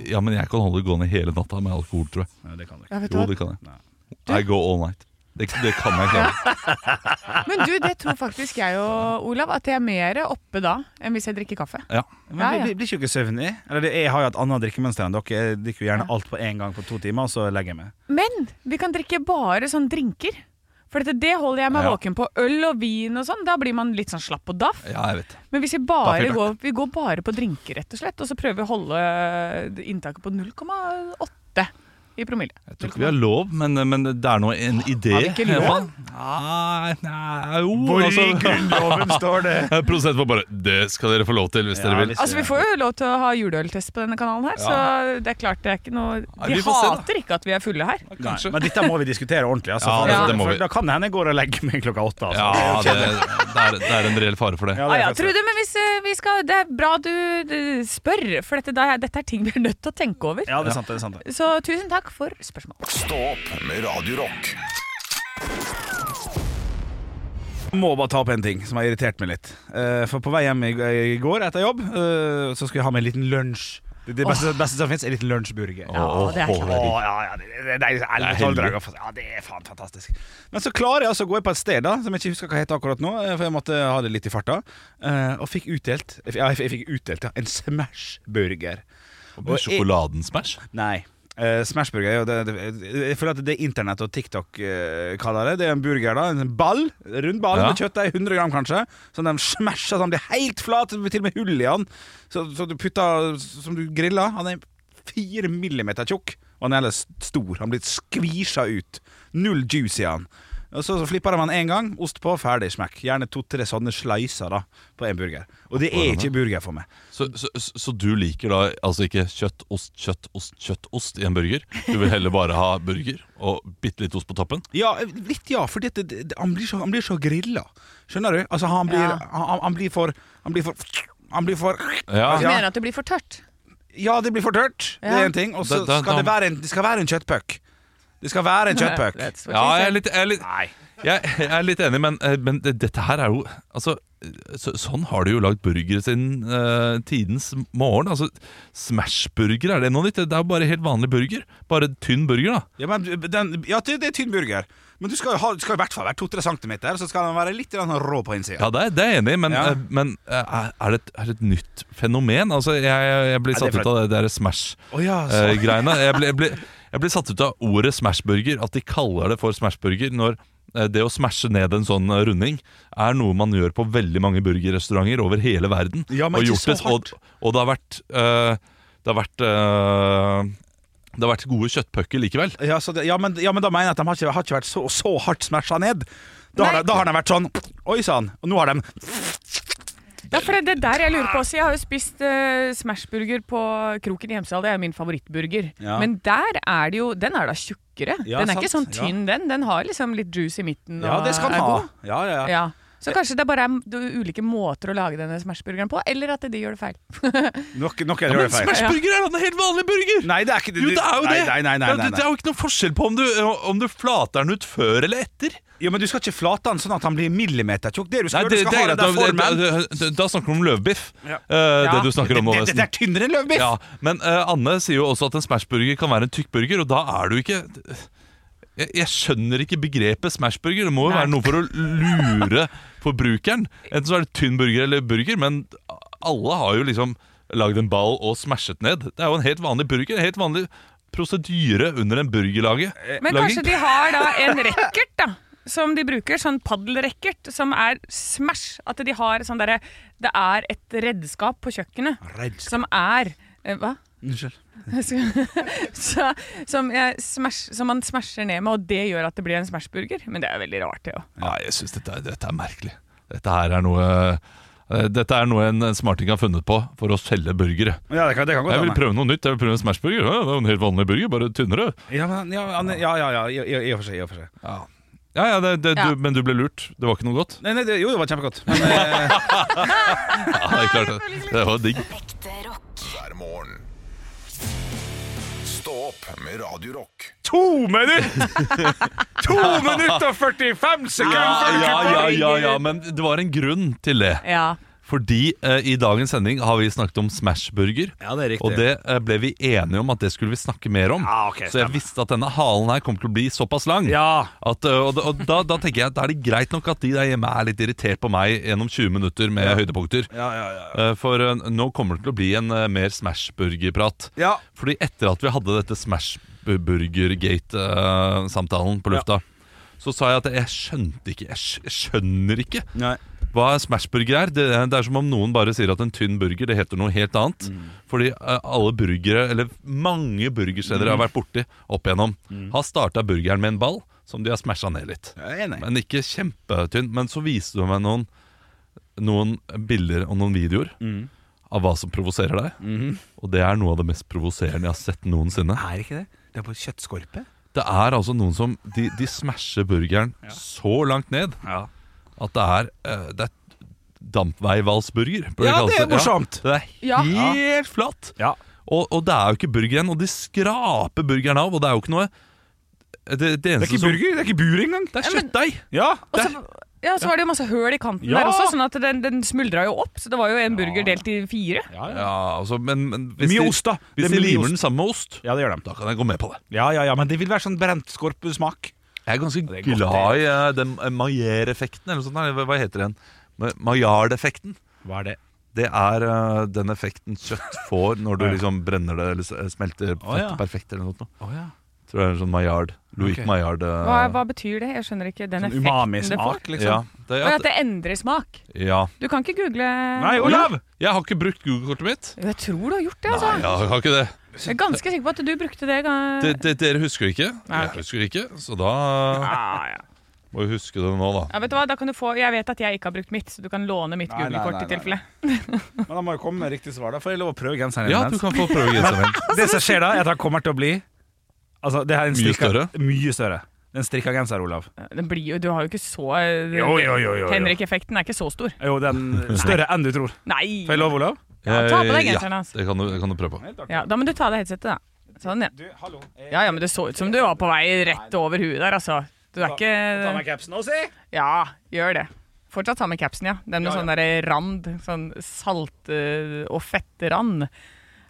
Speaker 3: Ja, men jeg kan holde gående hele natta med alkohol, tror jeg.
Speaker 2: Nei, det kan du ikke.
Speaker 4: Ja, vet du
Speaker 3: Jo,
Speaker 4: hva?
Speaker 3: det kan jeg. I go all night. Det, det kan jeg klare.
Speaker 4: Men du, det tror faktisk jeg og Olav, at jeg er mer oppe da enn hvis jeg drikker kaffe.
Speaker 3: Ja.
Speaker 2: Men
Speaker 4: Ja, ja.
Speaker 2: Blir, blir ikke dere søvnig? Eller, det- jeg har jo et annet drikkemønster enn dere. Jeg drikker jo gjerne alt på en gang på to timer, og så legger jeg meg.
Speaker 4: Men vi kan drikke bare sånn drinker. For dette, det holder jeg meg
Speaker 2: Ja.
Speaker 4: våken på. Øl og vin og sånn, da blir man litt sånn slapp og daff.
Speaker 3: ja, jeg vet det.
Speaker 4: Men hvis vi
Speaker 3: Da
Speaker 4: bare
Speaker 3: fyller
Speaker 4: går, vi går bare på drinker, rett og slett, og så prøver vi å holde eh, inntaket på 0,8 i promille.
Speaker 3: Jeg tror ikke vi har lov, men, men det er nå en idé.
Speaker 4: Har vi ikke lov?
Speaker 3: Nei, nei, jo, altså-
Speaker 2: Hvor i Grunnloven står det?
Speaker 3: Prosent var bare 'det skal dere få lov til', hvis
Speaker 2: Ja,
Speaker 3: dere vil.
Speaker 2: hvis-
Speaker 4: Altså, Vi får jo lov til å ha juleøltest på denne kanalen her,
Speaker 2: Ja.
Speaker 4: så det er klart det er ikke noe De
Speaker 2: vi får se, da.
Speaker 4: hater ikke at vi er fulle her.
Speaker 2: Nei, men dette må vi diskutere ordentlig. Altså,
Speaker 3: Ja,
Speaker 2: for,
Speaker 3: det-
Speaker 2: for,
Speaker 3: det må vi.
Speaker 2: Da kan det hende jeg går og legger meg klokka åtte. Altså.
Speaker 3: Ja,
Speaker 2: Det
Speaker 3: det,
Speaker 2: er jo kjedelig.
Speaker 3: det, er, det er en reell fare for det.
Speaker 2: Ja,
Speaker 4: Ja, ja, Trude, men hvis eh, vi skal, det er bra du eh, spør, for dette, da- dette er ting vi er nødt til å tenke over.
Speaker 2: Ja, det er sant, det er sant.
Speaker 4: Så tusen takk for spørsmålet.
Speaker 1: Stå opp med Radio Rock.
Speaker 2: Må bare ta opp en ting som har irritert meg litt. Eh, for på vei hjem i, i går etter jobb, eh, så skulle jeg ha meg en liten lunsj. Det, det beste, beste som fins, er en liten lunsjburger.
Speaker 6: Ja, det er klart.
Speaker 2: Å, ja, ja, det, det, det er
Speaker 6: Det er
Speaker 2: 11-12
Speaker 6: heldig.
Speaker 2: dager. for- Ja, det er faen fantastisk. Men så klarer jeg altså å gå inn på et sted da som jeg ikke husker hva heter akkurat nå, eh, for jeg måtte ha det litt i farta, eh, og fikk utdelt Ja, jeg fikk utdelt ja, en Smash-burger.
Speaker 3: Og sjokoladen Smash?
Speaker 2: Nei. Eh, Smashburger er jo det, det, Jeg føler at det internett og TikTok eh, kaller det. Det er en burger, da. En ball. Rund ball
Speaker 3: Ja.
Speaker 2: med kjøttdeig. 100 gram, kanskje. Som de smasher sånn. Blir helt flat. Det blir til og med hull i den. Så, så du putter Som du griller. Han er fire millimeter tjukk. Og han er ellers stor. Han blir skvisa ut. Null juice i han. Og så, så flipper de han én gang. Ost på, ferdig smekk. Gjerne to-tre sånne slicer da på én burger. Og det er ikke burger for meg.
Speaker 3: Så, så, så- så du liker da altså ikke kjøtt, ost, kjøtt, ost, kjøtt, ost i en burger? Du vil heller bare ha burger og bitte litt ost på toppen?
Speaker 2: Ja, litt ja, for det, det, det, han, blir så, han blir så grilla. Skjønner du? Altså, han blir,
Speaker 4: Ja.
Speaker 2: han, han blir for Han blir for Han blir for
Speaker 4: Du mener
Speaker 2: ja.
Speaker 4: at det blir for tørt?
Speaker 2: ja, det blir for tørt. Det
Speaker 4: Ja.
Speaker 2: er en ting. Og så
Speaker 3: Da- da-
Speaker 2: skal det
Speaker 3: da-
Speaker 2: være en, det skal være en kjøttpuck. Det skal være en kjøttpuck.
Speaker 4: That's
Speaker 3: Ja, jeg er litt, jeg er litt, jeg, jeg er litt enig, men, eh, men det, dette her er jo Altså, så, sånn har de jo lagd burgere siden eh, tidens morgen. Altså, Smashburger, er det noe nytt? Det er jo bare helt vanlig burger. Bare tynn burger, da.
Speaker 2: Ja, men den, ja det, det er tynn burger. Men du skal, jo ha, det skal i hvert fall være to-tre centimeter, så skal den være litt grann rå på innsida.
Speaker 3: Ja, det er, det er jeg enig i, men, eh, men eh, er, er, det et, er det et nytt fenomen? Altså, jeg, jeg, jeg blir
Speaker 2: Ja, det er
Speaker 3: satt ut av
Speaker 2: for-
Speaker 3: det der
Speaker 2: Å ja, så-
Speaker 3: Smash-greiene. jeg, blir- jeg, blir- jeg blir satt ut av ordet Smashburger, at de kaller det for Smashburger når eh, det å smashe ned en sånn eh, runding er noe man gjør på veldig mange burgerrestauranter over hele verden.
Speaker 2: Ja, men
Speaker 3: og,
Speaker 2: ikke
Speaker 3: gjort
Speaker 2: så
Speaker 3: det- og, og det har vært, eh, det har vært eh, det har vært gode kjøttpucker likevel.
Speaker 2: Ja, så det, ja, men, ja, men da mener jeg at de har ikke, har ikke vært så, så hardt smasha ned. Da har, de, da har de vært sånn Oi sann! Og nå har de
Speaker 4: Ja, for det, det er der jeg lurer på også. Jeg har jo spist eh, Smashburger på Kroken i Hemsedal. Det er jo min favorittburger.
Speaker 2: Ja.
Speaker 4: Men der er det jo Den er da tjukkere.
Speaker 2: Ja,
Speaker 4: den er
Speaker 2: sant.
Speaker 4: ikke sånn
Speaker 2: Ja.
Speaker 4: tynn, den. Den har liksom litt juice i midten.
Speaker 2: Ja,
Speaker 4: og
Speaker 2: det skal
Speaker 4: er
Speaker 2: den ha.
Speaker 4: god.
Speaker 2: Ja, ja, ja.
Speaker 4: Ja. Så kanskje det bare er m- ulike måter å lage denne Smashburgeren på, eller at de gjør det feil.
Speaker 2: Nok, nok er
Speaker 3: Ja,
Speaker 2: det
Speaker 3: men
Speaker 2: feil.
Speaker 3: smashburger er da en helt vanlig burger!
Speaker 2: Nei, det er ikke det.
Speaker 3: Jo, det er jo
Speaker 2: Nei,
Speaker 3: det!
Speaker 2: nei, nei, nei,
Speaker 3: Det er-
Speaker 2: nei,
Speaker 3: Det er jo ikke noe forskjell på om du, om du flater den ut før eller etter.
Speaker 2: Ja, men du skal ikke flate den sånn at han blir millimetertjukk. Det du skal
Speaker 3: Nei,
Speaker 2: gjøre, du skal
Speaker 3: det, det er
Speaker 2: ha
Speaker 3: greit.
Speaker 2: den der
Speaker 3: Da,
Speaker 2: formen.
Speaker 3: da, da, da snakker du om løvbiff.
Speaker 2: Ja.
Speaker 3: eh,
Speaker 2: Ja.
Speaker 3: Det du snakker om nå,
Speaker 2: Det- det- det er
Speaker 3: Vesten.
Speaker 2: tynnere enn løvbiff.
Speaker 3: Ja, men eh, Anne sier jo også at en smashburger kan være en tykkburger, og da er du ikke jeg, jeg skjønner ikke begrepet smashburger. Det må jo
Speaker 4: Nei.
Speaker 3: være noe for å lure forbrukeren. Enten så er det tynn burger eller burger, men alle har jo liksom lagd en ball og smashet ned. Det er jo en helt vanlig burger. en Helt vanlig prosedyre under en burgerlaget.
Speaker 4: Men kanskje de har da en racket, da. Som de bruker, sånn paddelracket, som er smash. At de har sånn derre Det er et redskap på kjøkkenet
Speaker 2: Redskap.
Speaker 4: som er eh, Hva?
Speaker 2: Unnskyld.
Speaker 4: så, som, jeg smash, som man smasher ned med, og det gjør at det blir en smashburger. Men det er veldig rart, det òg.
Speaker 3: Ja, jeg syns dette, er- dette er merkelig. Dette her er noe eh, dette er noe en en smarting har funnet på for å selge burgere.
Speaker 2: Ja, det kan, det kan godt
Speaker 3: Jeg vil
Speaker 2: hende.
Speaker 3: prøve noe nytt. Jeg vil prøve en smashburger. Ja, det er jo en helt vanlig burger, bare tynnere.
Speaker 2: Ja, men, ja, men- ja, ja, ja, i- i- i og for seg. I og for seg.
Speaker 3: Ja, ja, det, det,
Speaker 4: Ja.
Speaker 3: Du, Men du ble lurt. Det var ikke noe godt?
Speaker 2: Nei, nei, det, jo, det var kjempegodt. Men eh,
Speaker 3: Ja, det, er klart, det. det var digg.
Speaker 5: Ekte rock.
Speaker 1: hver morgen. Stå opp med Radio Rock.
Speaker 2: to minutter! To minutter og 45
Speaker 3: Ja,
Speaker 2: sekunder!
Speaker 3: ja, ja, ja, ja, men det var en grunn til det.
Speaker 4: Ja.
Speaker 3: Fordi eh, i dagens sending har vi snakket om smashburger.
Speaker 2: Ja, det er riktig.
Speaker 3: Og det eh, ble vi enige om at det skulle vi snakke mer om.
Speaker 2: Ja, ok,
Speaker 3: så jeg
Speaker 2: stemmer.
Speaker 3: visste at denne halen her kom til å bli såpass lang.
Speaker 2: Ja.
Speaker 3: At, eh, og da- og da, da tenker jeg at da er det greit nok at de der hjemme er litt irritert på meg gjennom 20 minutter med høydepunkter.
Speaker 2: Ja, ja, ja.
Speaker 3: Eh, For eh, nå kommer det til å bli en eh, mer smashburger-prat.
Speaker 2: Ja.
Speaker 3: Fordi etter at vi hadde dette smashburger-gate-samtalen på lufta, så sa jeg at jeg skjønte ikke Jeg skj- jeg skjønner ikke
Speaker 2: Nei.
Speaker 3: hva smashburger er. Det, det er som om noen bare sier at en tynn burger det heter noe helt annet. Fordi eh, alle burgere, eller mange burgersteder jeg har vært borti opp igjennom, har starta burgeren med en ball som de har smasha ned litt.
Speaker 2: Jeg er enig.
Speaker 3: Men ikke kjempetynn. Men så viste du meg noen, noen bilder og noen videoer av hva som provoserer deg. Og det er noe av det mest provoserende jeg har sett noensinne.
Speaker 2: Er ikke det? Det er på kjøttskorpe.
Speaker 3: Det er altså noen som De, de smasher burgeren så langt ned
Speaker 2: Ja.
Speaker 3: at det er, eh, det er dampveivalsburger. bør
Speaker 2: Ja,
Speaker 3: kalles
Speaker 2: det er morsomt.
Speaker 3: Ja, det
Speaker 4: Ja.
Speaker 3: er helt flatt.
Speaker 2: Ja.
Speaker 3: Og, og det er jo ikke burger igjen. Og de skraper burgeren av, og det er jo ikke noe Det, det, eneste som-
Speaker 2: det er ikke bur engang.
Speaker 3: Det er
Speaker 4: Ja, men-
Speaker 3: kjøttdeig.
Speaker 2: Ja.
Speaker 4: Og så, ja, så var det jo masse høl i kanten
Speaker 2: Ja.
Speaker 4: der også, sånn at den, den smuldra jo opp. Så det var jo en burger delt i fire.
Speaker 3: Ja, altså, men, men hvis
Speaker 2: Mye
Speaker 3: de-
Speaker 2: ost, da.
Speaker 3: Hvis
Speaker 2: Det
Speaker 3: de
Speaker 2: er mye
Speaker 3: limer
Speaker 2: ost.
Speaker 3: den sammen med ost,
Speaker 2: Ja, det gjør de.
Speaker 3: da kan jeg gå med på det.
Speaker 2: Ja, ja, ja, men det vil være sånn brent skorpesmak.
Speaker 3: Jeg er ganske
Speaker 2: er godt,
Speaker 3: glad i eh, den eh, Maillard-effekten, eller noe sånt. Nei, hva- Hva heter den? Ma- Maillard-effekten.
Speaker 2: Hva er det?
Speaker 3: Det er eh, den effekten kjøtt får når du liksom brenner det eller s- smelter fett
Speaker 2: Å, ja.
Speaker 3: perfekt eller noe. sånt.
Speaker 2: Å ja.
Speaker 3: Tror det er en sånn Maillard. Louis
Speaker 2: Ok.
Speaker 3: Maillard. eh,
Speaker 4: Hva, hva betyr det? Jeg skjønner ikke den
Speaker 2: Sånn
Speaker 4: effekten det får.
Speaker 2: umami-smak, liksom.
Speaker 3: ja, det,
Speaker 4: Og at det endrer smak.
Speaker 3: ja.
Speaker 4: Du kan ikke google
Speaker 2: Nei, Olav!
Speaker 3: Jeg har ikke brukt Google-kortet mitt.
Speaker 4: Jo, Jeg tror du har gjort det, altså.
Speaker 3: Nei, jeg har ikke det.
Speaker 4: Jeg er ganske sikker på at du brukte det. ga-
Speaker 3: det, det dere husker det ikke.
Speaker 4: Nei,
Speaker 3: Jeg
Speaker 4: ok.
Speaker 3: husker det ikke, så da
Speaker 2: Ah,
Speaker 3: må vi huske det nå, da.
Speaker 4: Ja, vet du hva? Da kan du få, jeg vet at jeg ikke har brukt mitt, så du kan låne mitt
Speaker 2: Nei, nei,
Speaker 4: Google-kort i
Speaker 2: nei, nei,
Speaker 4: tilfelle.
Speaker 2: Men da må jeg komme med riktig svar. Da får jeg lov å prøve genseren
Speaker 3: Ja, du
Speaker 2: imens.
Speaker 3: kan få prøve genseren min.
Speaker 2: Det som skjer da, er at han kommer til å bli Altså, det her er en
Speaker 3: Mye
Speaker 2: strikka,
Speaker 3: større?
Speaker 2: Mye større. Det er En strikka genser, Olav.
Speaker 4: Den blir jo, du har jo ikke så eh,
Speaker 2: Jo, jo, jo, jo, jo.
Speaker 4: Henrik-effekten er ikke så stor.
Speaker 2: Jo, den større enn du tror.
Speaker 4: Nei!
Speaker 2: Får jeg lov, Olav?
Speaker 4: Ja, ta på deg
Speaker 3: Eh,
Speaker 4: genseren hans.
Speaker 3: Ja, det kan du, det kan du prøve på.
Speaker 4: Ja, da må du ta av deg headsetet, da. Sånn, ja.
Speaker 2: Du, hallo. Jeg
Speaker 4: ja. Ja, men det så ut som du var på vei rett over huet der, altså. Du er
Speaker 2: tar
Speaker 4: ikke
Speaker 2: meg capsen nå, si!
Speaker 4: Ja, gjør det. Fortsatt ta med capsen, ja. Den med
Speaker 2: Ja, ja.
Speaker 4: sånn derre rand. Sånn salt- eh, og fettrand.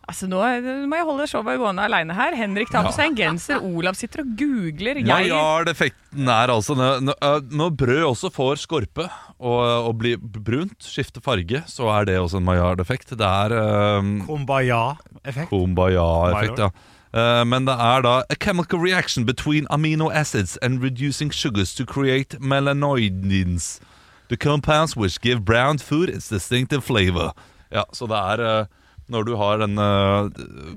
Speaker 4: Altså, nå er- må jeg holde showet gående aleine her. Henrik tar på seg en genser, Olav sitter og googler. Jeg
Speaker 3: Maillard-effekten er altså når, når, når brød også får skorpe og, og blir brunt, skifter farge, så er det også en Maillard-effekt. Det er eh,
Speaker 2: Kumbaya-effekt.
Speaker 3: Kumbaya-effekt, ja. Eh, men det er da A chemical reaction between amino acids and reducing sugars to create melanoidins. The compounds which give brown food its distinctive flavor. Ja, så det er eh, Når du har den eh,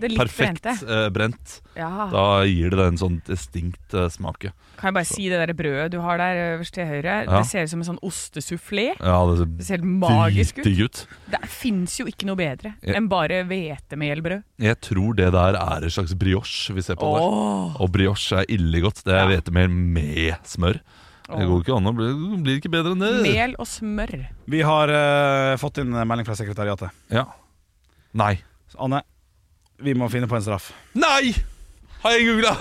Speaker 4: Det litt
Speaker 3: perfekt
Speaker 4: brente.
Speaker 3: eh, brent,
Speaker 4: Ja.
Speaker 3: da gir det en sånn distinkt eh, smake.
Speaker 4: Kan jeg bare si det der brødet du har der øverst til høyre?
Speaker 3: Ja.
Speaker 4: Det ser ut som en sånn ostesufflé.
Speaker 3: Ja, det ser,
Speaker 4: ser helt magisk ut.
Speaker 3: dritdigg ut.
Speaker 4: Det fins jo ikke noe bedre
Speaker 3: Ja.
Speaker 4: enn bare hvetemelbrød.
Speaker 3: Jeg tror det der er en slags brioche vi ser på
Speaker 4: Åh.
Speaker 3: der. Og brioche er ille godt. Det er hvetemel med smør. Det går ikke an å bli det blir ikke bedre enn det.
Speaker 4: Mel og smør.
Speaker 2: Vi har eh, fått inn en melding fra sekretariatet.
Speaker 3: Ja. Nei.
Speaker 2: Så, Anne, vi må finne på en straff.
Speaker 3: Nei! Har jeg googla?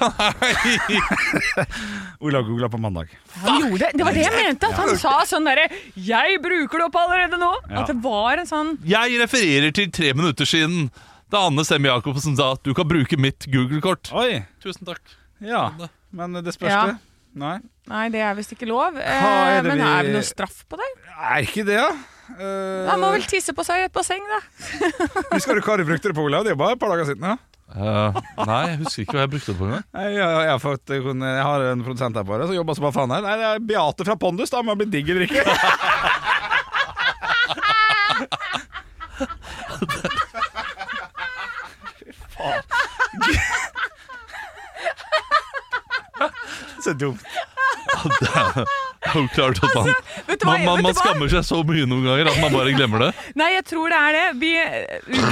Speaker 2: Ola googla på mandag.
Speaker 4: Han gjorde det! Det var det jeg mente! At han sa sånn derre 'Jeg bruker det opp allerede nå!'
Speaker 3: Ja.
Speaker 4: At det var en sånn
Speaker 3: Jeg refererer til tre minutter siden da Anne Sem-Jacobsen sa at du kan bruke mitt Google-kort.
Speaker 2: Oi
Speaker 3: Tusen takk.
Speaker 2: Ja, men det spørs
Speaker 4: Ja.
Speaker 2: det. Nei.
Speaker 4: Nei, det er visst ikke lov.
Speaker 2: Hva
Speaker 4: Eh,
Speaker 2: er det
Speaker 4: men
Speaker 2: vi-
Speaker 4: er det noe straff på det?
Speaker 2: Er ikke det, da? Eh,
Speaker 4: Han må vel tisse på seg i et basseng, da.
Speaker 2: Husker du hva du brukte det på, Olav? Det er bare et par dager siden. Ja.
Speaker 3: Eh, nei, jeg husker ikke hva jeg brukte det på engang.
Speaker 2: Jeg, jeg, jeg, har fått, eh, jeg har en produsent her på det som jobber som bare faen her. Nei, det er Beate fra Pondus, da må jeg bli digg i drikke. Så dumt.
Speaker 3: Jo, klart at man,
Speaker 4: Altså, vet du hva-
Speaker 3: man, man, man
Speaker 4: vet du hva?
Speaker 3: skammer seg så mye noen ganger at man bare glemmer det.
Speaker 4: Nei, jeg tror det er det. Vi, eh,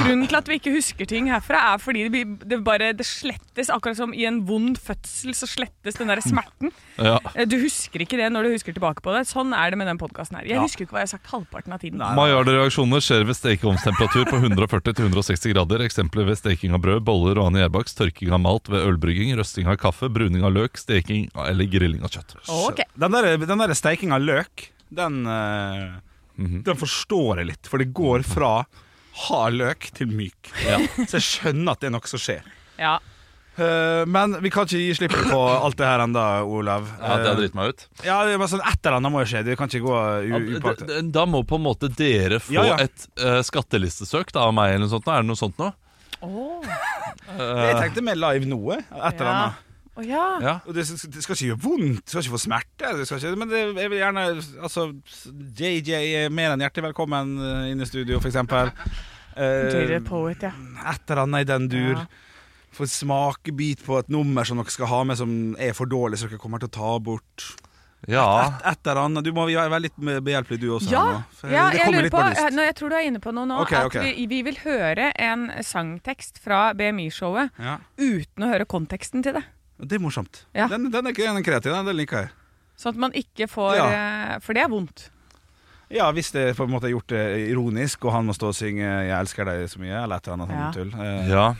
Speaker 4: grunnen til at vi ikke husker ting herfra, er fordi det, blir- det bare det slettes. Akkurat som i en vond fødsel, så slettes den der smerten.
Speaker 3: Ja.
Speaker 4: Eh, Du husker ikke det når du husker tilbake på det. Sånn er det med den podkasten her. Jeg
Speaker 3: Ja.
Speaker 4: husker ikke hva jeg har sagt halvparten av tiden.
Speaker 3: Maillarde reaksjoner skjer ved stekeovnstemperatur på 140-160 grader. Eksempler ved steking av brød, boller og annen gjærbakst, tørking av malt ved ølbrygging, røsting av kaffe, bruning av løk, steking eller grilling av kjøtt.
Speaker 4: Ok.
Speaker 2: Den der, den der steiking av løk, den, eh,
Speaker 3: Mhm.
Speaker 2: den forstår jeg litt. For det går fra hard løk til myk. Så jeg skjønner at det er noe som skjer.
Speaker 4: Ja.
Speaker 2: Eh, men vi kan ikke gi slipp på alt det her ennå, Olav. Eh,
Speaker 3: Ja, det driter meg ut.
Speaker 2: Ja, det er bare sånn Et eller annet må jo skje. Det kan ikke gå uh, u- upåaktet.
Speaker 3: Da må på en måte dere få
Speaker 2: Ja, ja.
Speaker 3: et eh, skattelistesøk da, av meg eller noe sånt. nå. Er det noe sånt nå?
Speaker 2: Eh, Jeg tenkte mer live noe. Et eller
Speaker 4: Ja.
Speaker 2: annet.
Speaker 4: Å ja.
Speaker 3: Ja.
Speaker 2: Og det, skal- det skal ikke gjøre vondt, det skal ikke få smerte. Det skal ikke, men det, jeg vil gjerne Altså, JJ er mer enn hjertelig velkommen eh, inn i studio, for eksempel. Eh,
Speaker 4: Dere poet, ja.
Speaker 2: et eller annet i den dur.
Speaker 4: Ja.
Speaker 2: Få en smakebit på et nummer som dere skal ha med som er for dårlig, så dere kommer til å ta bort.
Speaker 3: ja.
Speaker 2: Et, et eller annet. Du må være være litt behjelpelig, du også.
Speaker 4: Ja,
Speaker 2: her nå, for
Speaker 4: ja
Speaker 2: det
Speaker 4: jeg
Speaker 2: kommer
Speaker 4: lurer
Speaker 2: litt
Speaker 4: på
Speaker 2: på lyst.
Speaker 4: eh, nå, Jeg tror du er inne på noe nå.
Speaker 2: Ok,
Speaker 4: at
Speaker 2: ok.
Speaker 4: Vi, vi vil høre en sangtekst fra BMI-showet
Speaker 2: Ja.
Speaker 4: uten å høre konteksten til det.
Speaker 2: Det er morsomt.
Speaker 4: Ja.
Speaker 2: Den, den, er, den er kreativ, den, den liker jeg.
Speaker 4: Sånn at man ikke får eh, For det er vondt.
Speaker 2: Ja, hvis det på en måte er gjort det ironisk, og han må stå og synge 'Jeg elsker deg' så mye, eller et eller annet
Speaker 4: Ja.
Speaker 2: sånt tull. Eh,
Speaker 3: ja.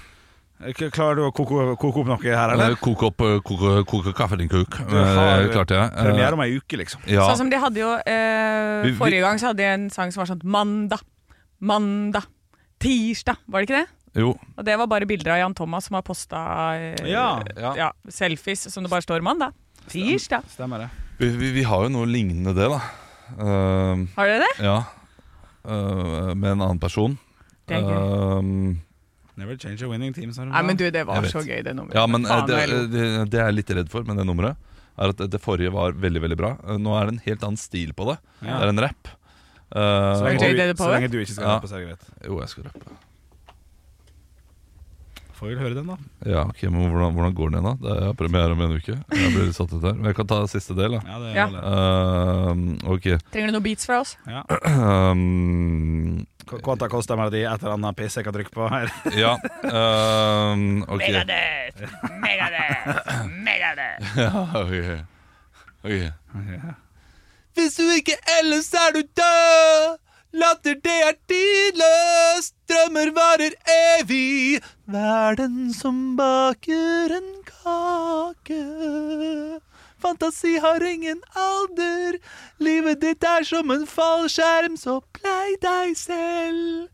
Speaker 2: k- Klarer du å koke, koke opp noe her, eller?
Speaker 3: Eh, Koke opp eh, koke, koke kaffen din, kuk.
Speaker 2: Du har,
Speaker 3: Eh, Klarte jeg. Eh,
Speaker 2: Premiere om ei uke, liksom.
Speaker 3: ja.
Speaker 4: Sånn som de hadde jo eh,
Speaker 3: Vi- vi-
Speaker 4: Forrige gang så hadde de en sang som var sånn Mandag, mandag, tirsdag. Var det ikke det?
Speaker 3: Jo.
Speaker 4: Og det var bare bilder av Jan Thomas som har posta eh,
Speaker 2: Ja.
Speaker 3: Ja.
Speaker 4: ja, selfies som det bare står 'mandag'. Tirsdag.
Speaker 2: Stemmer det.
Speaker 3: Vi, vi, vi har jo noe lignende det, da. Ehm,
Speaker 4: Har dere det?
Speaker 3: ja. Eh, med en annen person.
Speaker 4: Det er gøy.
Speaker 3: Ehm,
Speaker 2: Never change a winning team, sa de.
Speaker 4: Eh, Nei, men du, det var
Speaker 3: Jeg
Speaker 4: så
Speaker 3: vet.
Speaker 4: gøy, det nummeret.
Speaker 3: ja, men eh,
Speaker 4: Faen,
Speaker 3: det,
Speaker 4: jeg lo.
Speaker 3: det, det jeg er litt redd for med det nummeret, er at det forrige var veldig veldig bra. Eh, Nå er det en helt annen stil på det.
Speaker 2: Ja.
Speaker 3: Det er en rapp. Eh,
Speaker 2: så,
Speaker 4: Er det
Speaker 2: lenge
Speaker 4: det
Speaker 2: du,
Speaker 4: på
Speaker 2: så
Speaker 4: det?
Speaker 2: lenge du ikke skal
Speaker 3: Ja.
Speaker 2: ha på serviett.
Speaker 3: jo, jeg skal rappe.
Speaker 2: Får vel høre den, da.
Speaker 3: Ja, ok, men hvordan, hvordan går den igjen, da? Det er premiere om en uke. Jeg blir litt satt ut her. Men jeg kan ta siste del, da.
Speaker 2: Ja, det er
Speaker 4: Ja.
Speaker 2: vel det.
Speaker 3: Ehm, ok.
Speaker 4: Trenger du noen beats fra oss?
Speaker 2: Ja.
Speaker 3: Ehm,
Speaker 2: K- Quanta Costa Melodi, et eller annet piss jeg kan trykke på her.
Speaker 3: ja. Ehm, ok.
Speaker 4: Megadeth! Megadeth! Megadeth!
Speaker 3: Ja, ok. Ok. Hvis du ikke ellers er du død Latter det er tidløst Drømmer varer evig Verden som baker en kake Fantasi har ingen alder Livet ditt er som en fallskjerm Så plei deg selv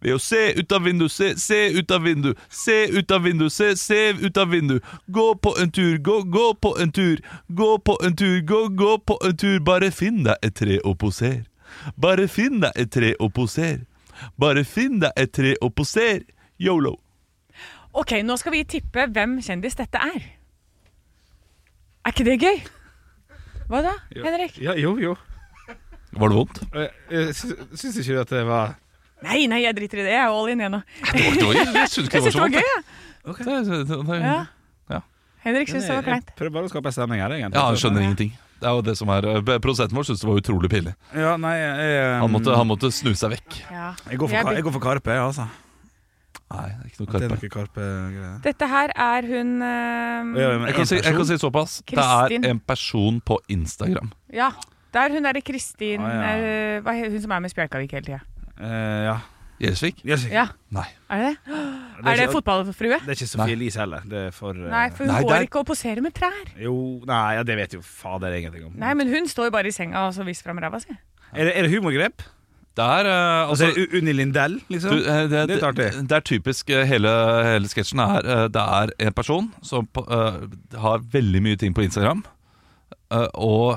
Speaker 3: ved å se ut av vindu, se, se ut av vindu, se ut av vindu, se, se ut av vindu. Gå på en tur, gå, gå på en tur, gå på en tur, gå, gå på en tur. Bare finn deg et tre og poser. Bare finn deg et tre og poser. Bare finn deg et tre og poser. Yolo.
Speaker 4: Ok, nå skal vi tippe hvem kjendis dette er. Er ikke det gøy? Hva da, Henrik?
Speaker 2: Ja, jo, Eh, jo.
Speaker 3: Var det vondt?
Speaker 2: Jeg, jeg sy- syns ikke du at det var
Speaker 4: Nei, nei, jeg driter i det. Jeg er all in, jeg nå.
Speaker 3: det var- det var- jeg synes ikke det var
Speaker 4: Jeg synes
Speaker 3: så vondt,
Speaker 4: gøy,
Speaker 3: jeg.
Speaker 4: jeg. Ja. Henrik syns det var kleint.
Speaker 2: Prøv bare å skape stemning her, egentlig.
Speaker 3: Ja, han skjønner ingenting. Det er jo det som er eh, Produsenten vår syntes det var utrolig pinlig.
Speaker 2: Ja, nei, jeg, eh,
Speaker 3: Han måtte, han måtte snu seg vekk.
Speaker 4: Ja.
Speaker 2: jeg, går for,
Speaker 4: Jeg
Speaker 2: Ka-
Speaker 4: blir-
Speaker 2: jeg går for Karpe, jeg, altså.
Speaker 3: Nei, det er ikke noe
Speaker 2: At det er
Speaker 3: Karpe.
Speaker 2: noe Karpe-greier.
Speaker 4: Dette her er hun eh,
Speaker 2: Ja, ja, men
Speaker 3: Jeg kan, si, jeg kan si såpass. Det
Speaker 4: Kristin.
Speaker 3: er en person på Instagram.
Speaker 4: Ja. Der hun derre Kristin
Speaker 3: Ah, ja.
Speaker 4: eh, hva he- Hun som er med Spjelkavik hele tida.
Speaker 2: Eh, ja.
Speaker 3: Gjelsvik?
Speaker 4: Ja.
Speaker 3: Nei.
Speaker 4: Er det det?
Speaker 2: er
Speaker 4: Er det
Speaker 2: ikke-
Speaker 4: fotballfrue?
Speaker 2: Det er ikke Sofie Elise heller. Det er for eh,
Speaker 4: Nei, for hun
Speaker 2: Nei,
Speaker 4: går
Speaker 2: det er-
Speaker 4: ikke å posere med trær.
Speaker 2: Jo, nei, ja, det vet jo fader ingenting om.
Speaker 4: Nei, men hun står jo bare i senga og så viser fram ræva si.
Speaker 2: Er det, er det humorgrep?
Speaker 3: Det er eh, altså,
Speaker 2: altså, Unni Lindell, liksom?
Speaker 3: Du, eh, det,
Speaker 2: Litt artig.
Speaker 3: Det, er typisk eh, hele, hele sketsjen er eh, Det er en person som på- eh, har veldig mye ting på Instagram. eh, og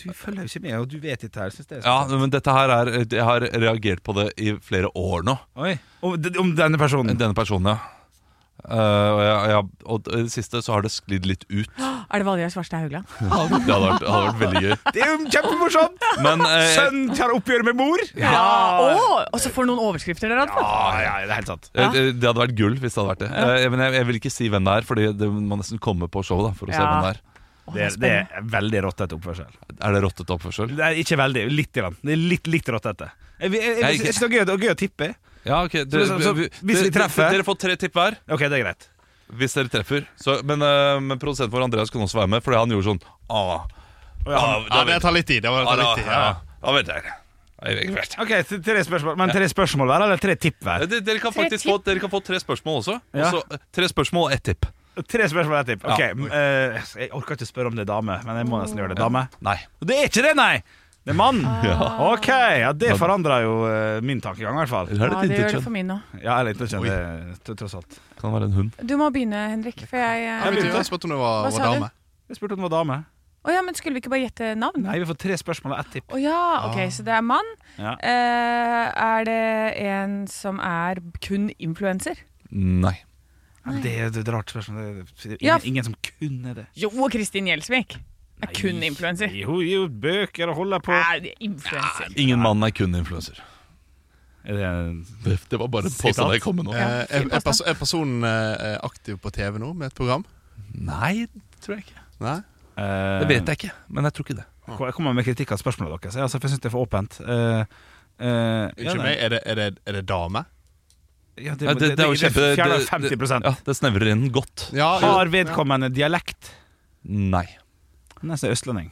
Speaker 2: Du følger jo ikke med, og du vet dette her. Synes det er
Speaker 3: Ja, men dette her er Jeg har reagert på det i flere år nå.
Speaker 2: Oi. Om, om denne personen?
Speaker 3: Denne personen, ja. Eh, og, jeg, jeg, og i det siste så har det sklidd litt ut.
Speaker 4: Er det Valgerd Svarstad Haugland?
Speaker 3: Det hadde vært, det hadde vært veldig gøy.
Speaker 2: Det er jo kjempemorsomt!
Speaker 3: Men eh,
Speaker 2: Sønn tar oppgjør med mor!
Speaker 4: Ja! Å, og så får noen overskrifter dere hadde fått!
Speaker 2: Ja, ja, det er helt sant.
Speaker 3: eh, det det hadde vært gull hvis det hadde vært det. Eh, men jeg, jeg vil ikke si hvem det er, Fordi det må nesten komme på showet da, for å se
Speaker 4: Ja.
Speaker 3: hvem det er.
Speaker 2: Det er, det er veldig rottete oppførsel.
Speaker 3: Er det rottete oppførsel?
Speaker 2: Det er ikke veldig, litt. Grann. Det er litt, litt rottete. Jeg, jeg, jeg, jeg, jeg synes det er gøy, det er gøy å tippe.
Speaker 3: Ja, ok
Speaker 2: Så- så- så hvis vi treffer-
Speaker 3: Dere får tre tipp hver
Speaker 2: Ok, det er greit.
Speaker 3: Hvis dere treffer så, Men, eh, men produsenten vår Andreas kunne også være med Fordi han gjorde sånn ah, ah, da
Speaker 12: Ja, det
Speaker 3: vet-
Speaker 12: tar litt tid. Det var,
Speaker 3: ah,
Speaker 12: det tar
Speaker 3: da-
Speaker 12: litt tid ja.
Speaker 3: ja, Da vet jeg det. Jeg vet ikke helt.
Speaker 2: Ok, t- tre spørsmål Men tre spørsmål hver, eller tre tipp hver?
Speaker 3: dere, dere kan
Speaker 2: Tre
Speaker 3: faktisk få, dere kan få tre spørsmål også
Speaker 2: Ja.
Speaker 3: Også, eh, Tre spørsmål og ett tipp
Speaker 2: Tre spørsmål og ett tipp. Ok,
Speaker 3: Ja.
Speaker 2: m- eh, Jeg orker ikke spørre om det er dame, men jeg må nesten gjøre det. Dame?
Speaker 3: Nei
Speaker 2: Det er ikke det, nei! Det er mann.
Speaker 3: Ja.
Speaker 2: Ok, ja, Det forandrer jo eh, min tankegang, i hvert fall.
Speaker 3: Eller er
Speaker 4: Ja, det gjør det for min òg.
Speaker 2: Ja, eller ikke kjønn, det t- tross alt.
Speaker 3: Kan være en hund
Speaker 4: Du må begynne, Henrik. For jeg, eh,
Speaker 12: Jeg begynte å spørre om det var,
Speaker 4: Hva sa
Speaker 12: var
Speaker 4: du?
Speaker 12: dame.
Speaker 2: Jeg spurte om det var dame.
Speaker 4: Å ja, men skulle vi ikke bare gjette navn?
Speaker 2: Nei, vi får tre spørsmål og ett tipp.
Speaker 4: Å ja, ok, så det er mann.
Speaker 2: Ja.
Speaker 4: Eh, er det en som er kun influenser?
Speaker 3: Nei
Speaker 2: Ja, Det er et rart spørsmål. Det er- Det er
Speaker 4: Ja.
Speaker 2: ingen, ingen som kunne det.
Speaker 4: Jo, og Kristin Gjelsvik er kun influenser.
Speaker 2: Jo, jo, bøker og holder på.
Speaker 4: Er det influenser?
Speaker 3: Ingen mann er kun influencer
Speaker 2: Er det en
Speaker 3: Det, det var bare en påstand jeg kom med nå
Speaker 12: Eh, er, er, perso er personen eh, aktiv på TV nå med et program?
Speaker 3: Nei, tror jeg ikke
Speaker 12: Nei?
Speaker 3: Det vet jeg ikke, men jeg tror ikke det
Speaker 2: eh, Jeg kommer med kritikk av spørsmålet deres. Altså, for jeg syns det er for åpent. Eh, eh, ja,
Speaker 12: Unnskyld
Speaker 2: nei.
Speaker 12: meg, er det, er det, er det dame?
Speaker 2: Ja, det,
Speaker 3: Nei,
Speaker 2: det, det,
Speaker 3: er jo kjempe-
Speaker 2: fjerner
Speaker 3: det-
Speaker 2: 50
Speaker 3: det- Ja, det snevrer inn godt
Speaker 12: Ja, jo.
Speaker 2: Har vedkommende dialekt?
Speaker 3: Nei
Speaker 2: Nesten østlending.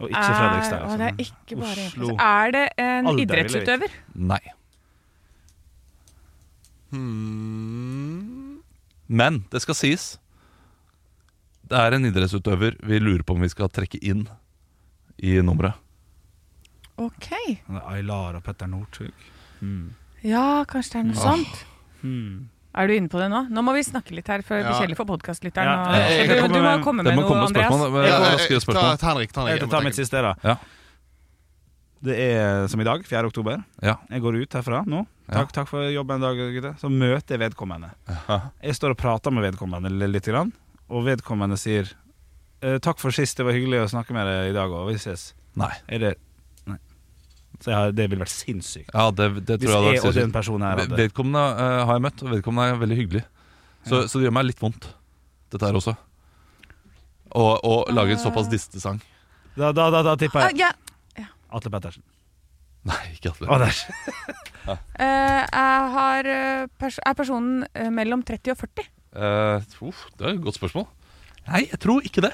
Speaker 2: Og ikke
Speaker 4: Hmm. Er,
Speaker 2: Fredrikstad.
Speaker 4: å,
Speaker 2: Altså.
Speaker 4: det er ikke bare Altså,
Speaker 2: Oslo.
Speaker 4: influenser. Er det en
Speaker 2: Alder, eller ikke?
Speaker 4: idrettsutøver?
Speaker 3: Nei
Speaker 12: Hmm.
Speaker 3: Men det skal sies Det er en idrettsutøver Vi lurer på om vi skal trekke inn I nummeret
Speaker 4: Ok.
Speaker 2: Han er Aylar og Petter Northug.
Speaker 4: Ja, kanskje det er noe sånt.
Speaker 2: Hmm.
Speaker 4: Er du inne på det nå? Nå må vi snakke litt her, for det blir
Speaker 12: Ja.
Speaker 4: kjedelig for podkastlytteren.
Speaker 2: Ja,
Speaker 4: og-
Speaker 2: jeg- jeg kan
Speaker 4: Du,
Speaker 2: komme
Speaker 4: du må
Speaker 2: med-
Speaker 4: komme
Speaker 3: Det
Speaker 4: med
Speaker 3: må komme
Speaker 4: noe,
Speaker 3: spørsmål
Speaker 4: Andreas.
Speaker 3: da.
Speaker 12: Ja,
Speaker 3: Raskere
Speaker 12: eh,
Speaker 3: spørsmål.
Speaker 12: Ta, ta Henrik. Ta Henrik
Speaker 2: Jeg
Speaker 12: jeg må
Speaker 2: tar
Speaker 12: tenke.
Speaker 2: mitt siste, da.
Speaker 3: Ja.
Speaker 2: Det er som i dag, 4. oktober.
Speaker 3: Ja.
Speaker 2: Jeg går ut herfra nå.
Speaker 3: Ja.
Speaker 2: Takk, takk for jobben en dag, gutter. Så møter jeg vedkommende. Jeg står og prater med vedkommende li- litt, grann, og vedkommende sier «Eh, Takk for sist, det var hyggelig å snakke med deg i dag òg. Vi ses.
Speaker 3: Nei
Speaker 2: Er det Nei. Så jeg, har- det ville vært sinnssykt.
Speaker 3: Ja, det, det
Speaker 2: Hvis
Speaker 3: tror jeg
Speaker 2: jeg
Speaker 3: hadde
Speaker 2: og
Speaker 3: vært
Speaker 2: den
Speaker 3: sinnssykt.
Speaker 2: personen her
Speaker 3: Ved-
Speaker 2: hadde
Speaker 3: Vedkommende eh, har jeg møtt Og vedkommende er veldig hyggelig Så, så det gjør meg litt vondt Dette her også Og, og lage en
Speaker 12: Ah.
Speaker 3: såpass distesang
Speaker 2: Da, da, da, da tipper
Speaker 4: Ah,
Speaker 2: jeg
Speaker 4: ja.
Speaker 2: Atle Pettersen.
Speaker 3: Nei, ikke
Speaker 2: Å,
Speaker 3: Atle
Speaker 2: der.
Speaker 4: Eh, jeg har, eh, pers er personen eh, mellom 30 og 40?
Speaker 3: Eh, uff, Det er et godt spørsmål Nei, jeg tror ikke det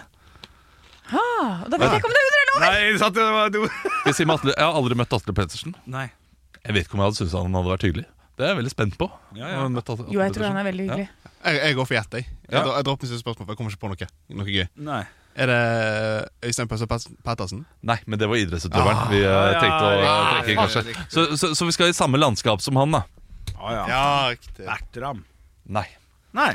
Speaker 4: Ah, og da vet jeg ikke om det er under eller over!
Speaker 2: Nei, satt det var do.
Speaker 3: Jeg, sier med Atle, jeg har aldri møtt Atle Pettersen
Speaker 2: Nei.
Speaker 3: Jeg vet ikke om jeg hadde syntes han hadde vært hyggelig Det er jeg veldig spent på
Speaker 2: Ja, ja.
Speaker 3: Om jeg møtte Atle-
Speaker 4: Jo, jeg
Speaker 3: Atle
Speaker 4: tror
Speaker 3: Pettersen.
Speaker 4: han er veldig hyggelig.
Speaker 12: Jeg, jeg går for gjett, jeg. Jeg,
Speaker 3: Ja.
Speaker 12: dro- jeg dropper mitt siste spørsmål, for jeg kommer ikke på noe, noe gøy.
Speaker 2: Nei.
Speaker 12: Er det Øystein Pøsse Pet- Pettersen?
Speaker 3: Nei, men det var idrettsutøveren vi eh,
Speaker 2: Ah, ja,
Speaker 3: tenkte å
Speaker 2: ja,
Speaker 3: trekke inn, kanskje. Så, så, så vi skal i samme landskap som han, da?
Speaker 2: Ah, ja.
Speaker 12: Ja, riktig.
Speaker 2: Bertram.
Speaker 3: Nei.
Speaker 2: Nei.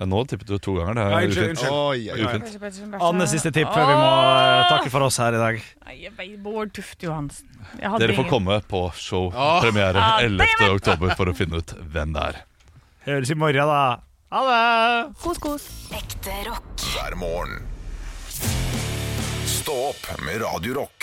Speaker 3: Men nå tippet du to ganger. Det
Speaker 2: Ja,
Speaker 3: er
Speaker 2: unnskyld,
Speaker 3: ufint.
Speaker 2: unnskyld.
Speaker 12: Oi, oi, oi.
Speaker 3: Ufint.
Speaker 4: Kanskje Pettersen Bertsen-
Speaker 2: Annes siste tipp før vi må eh, takke for oss her i dag.
Speaker 4: Nei, jeg vet, Bård Tufte Johansen. Jeg hadde
Speaker 3: Dere får
Speaker 4: ingen-
Speaker 3: komme på show
Speaker 12: Åh.
Speaker 3: premiere
Speaker 4: Ah,
Speaker 3: 11. oktober for å finne ut hvem det er.
Speaker 2: Høres i morgen, da. Ha det!
Speaker 4: Kos, kos.
Speaker 5: Ekte rock.
Speaker 1: hver morgen. Stå opp med Radio Rock.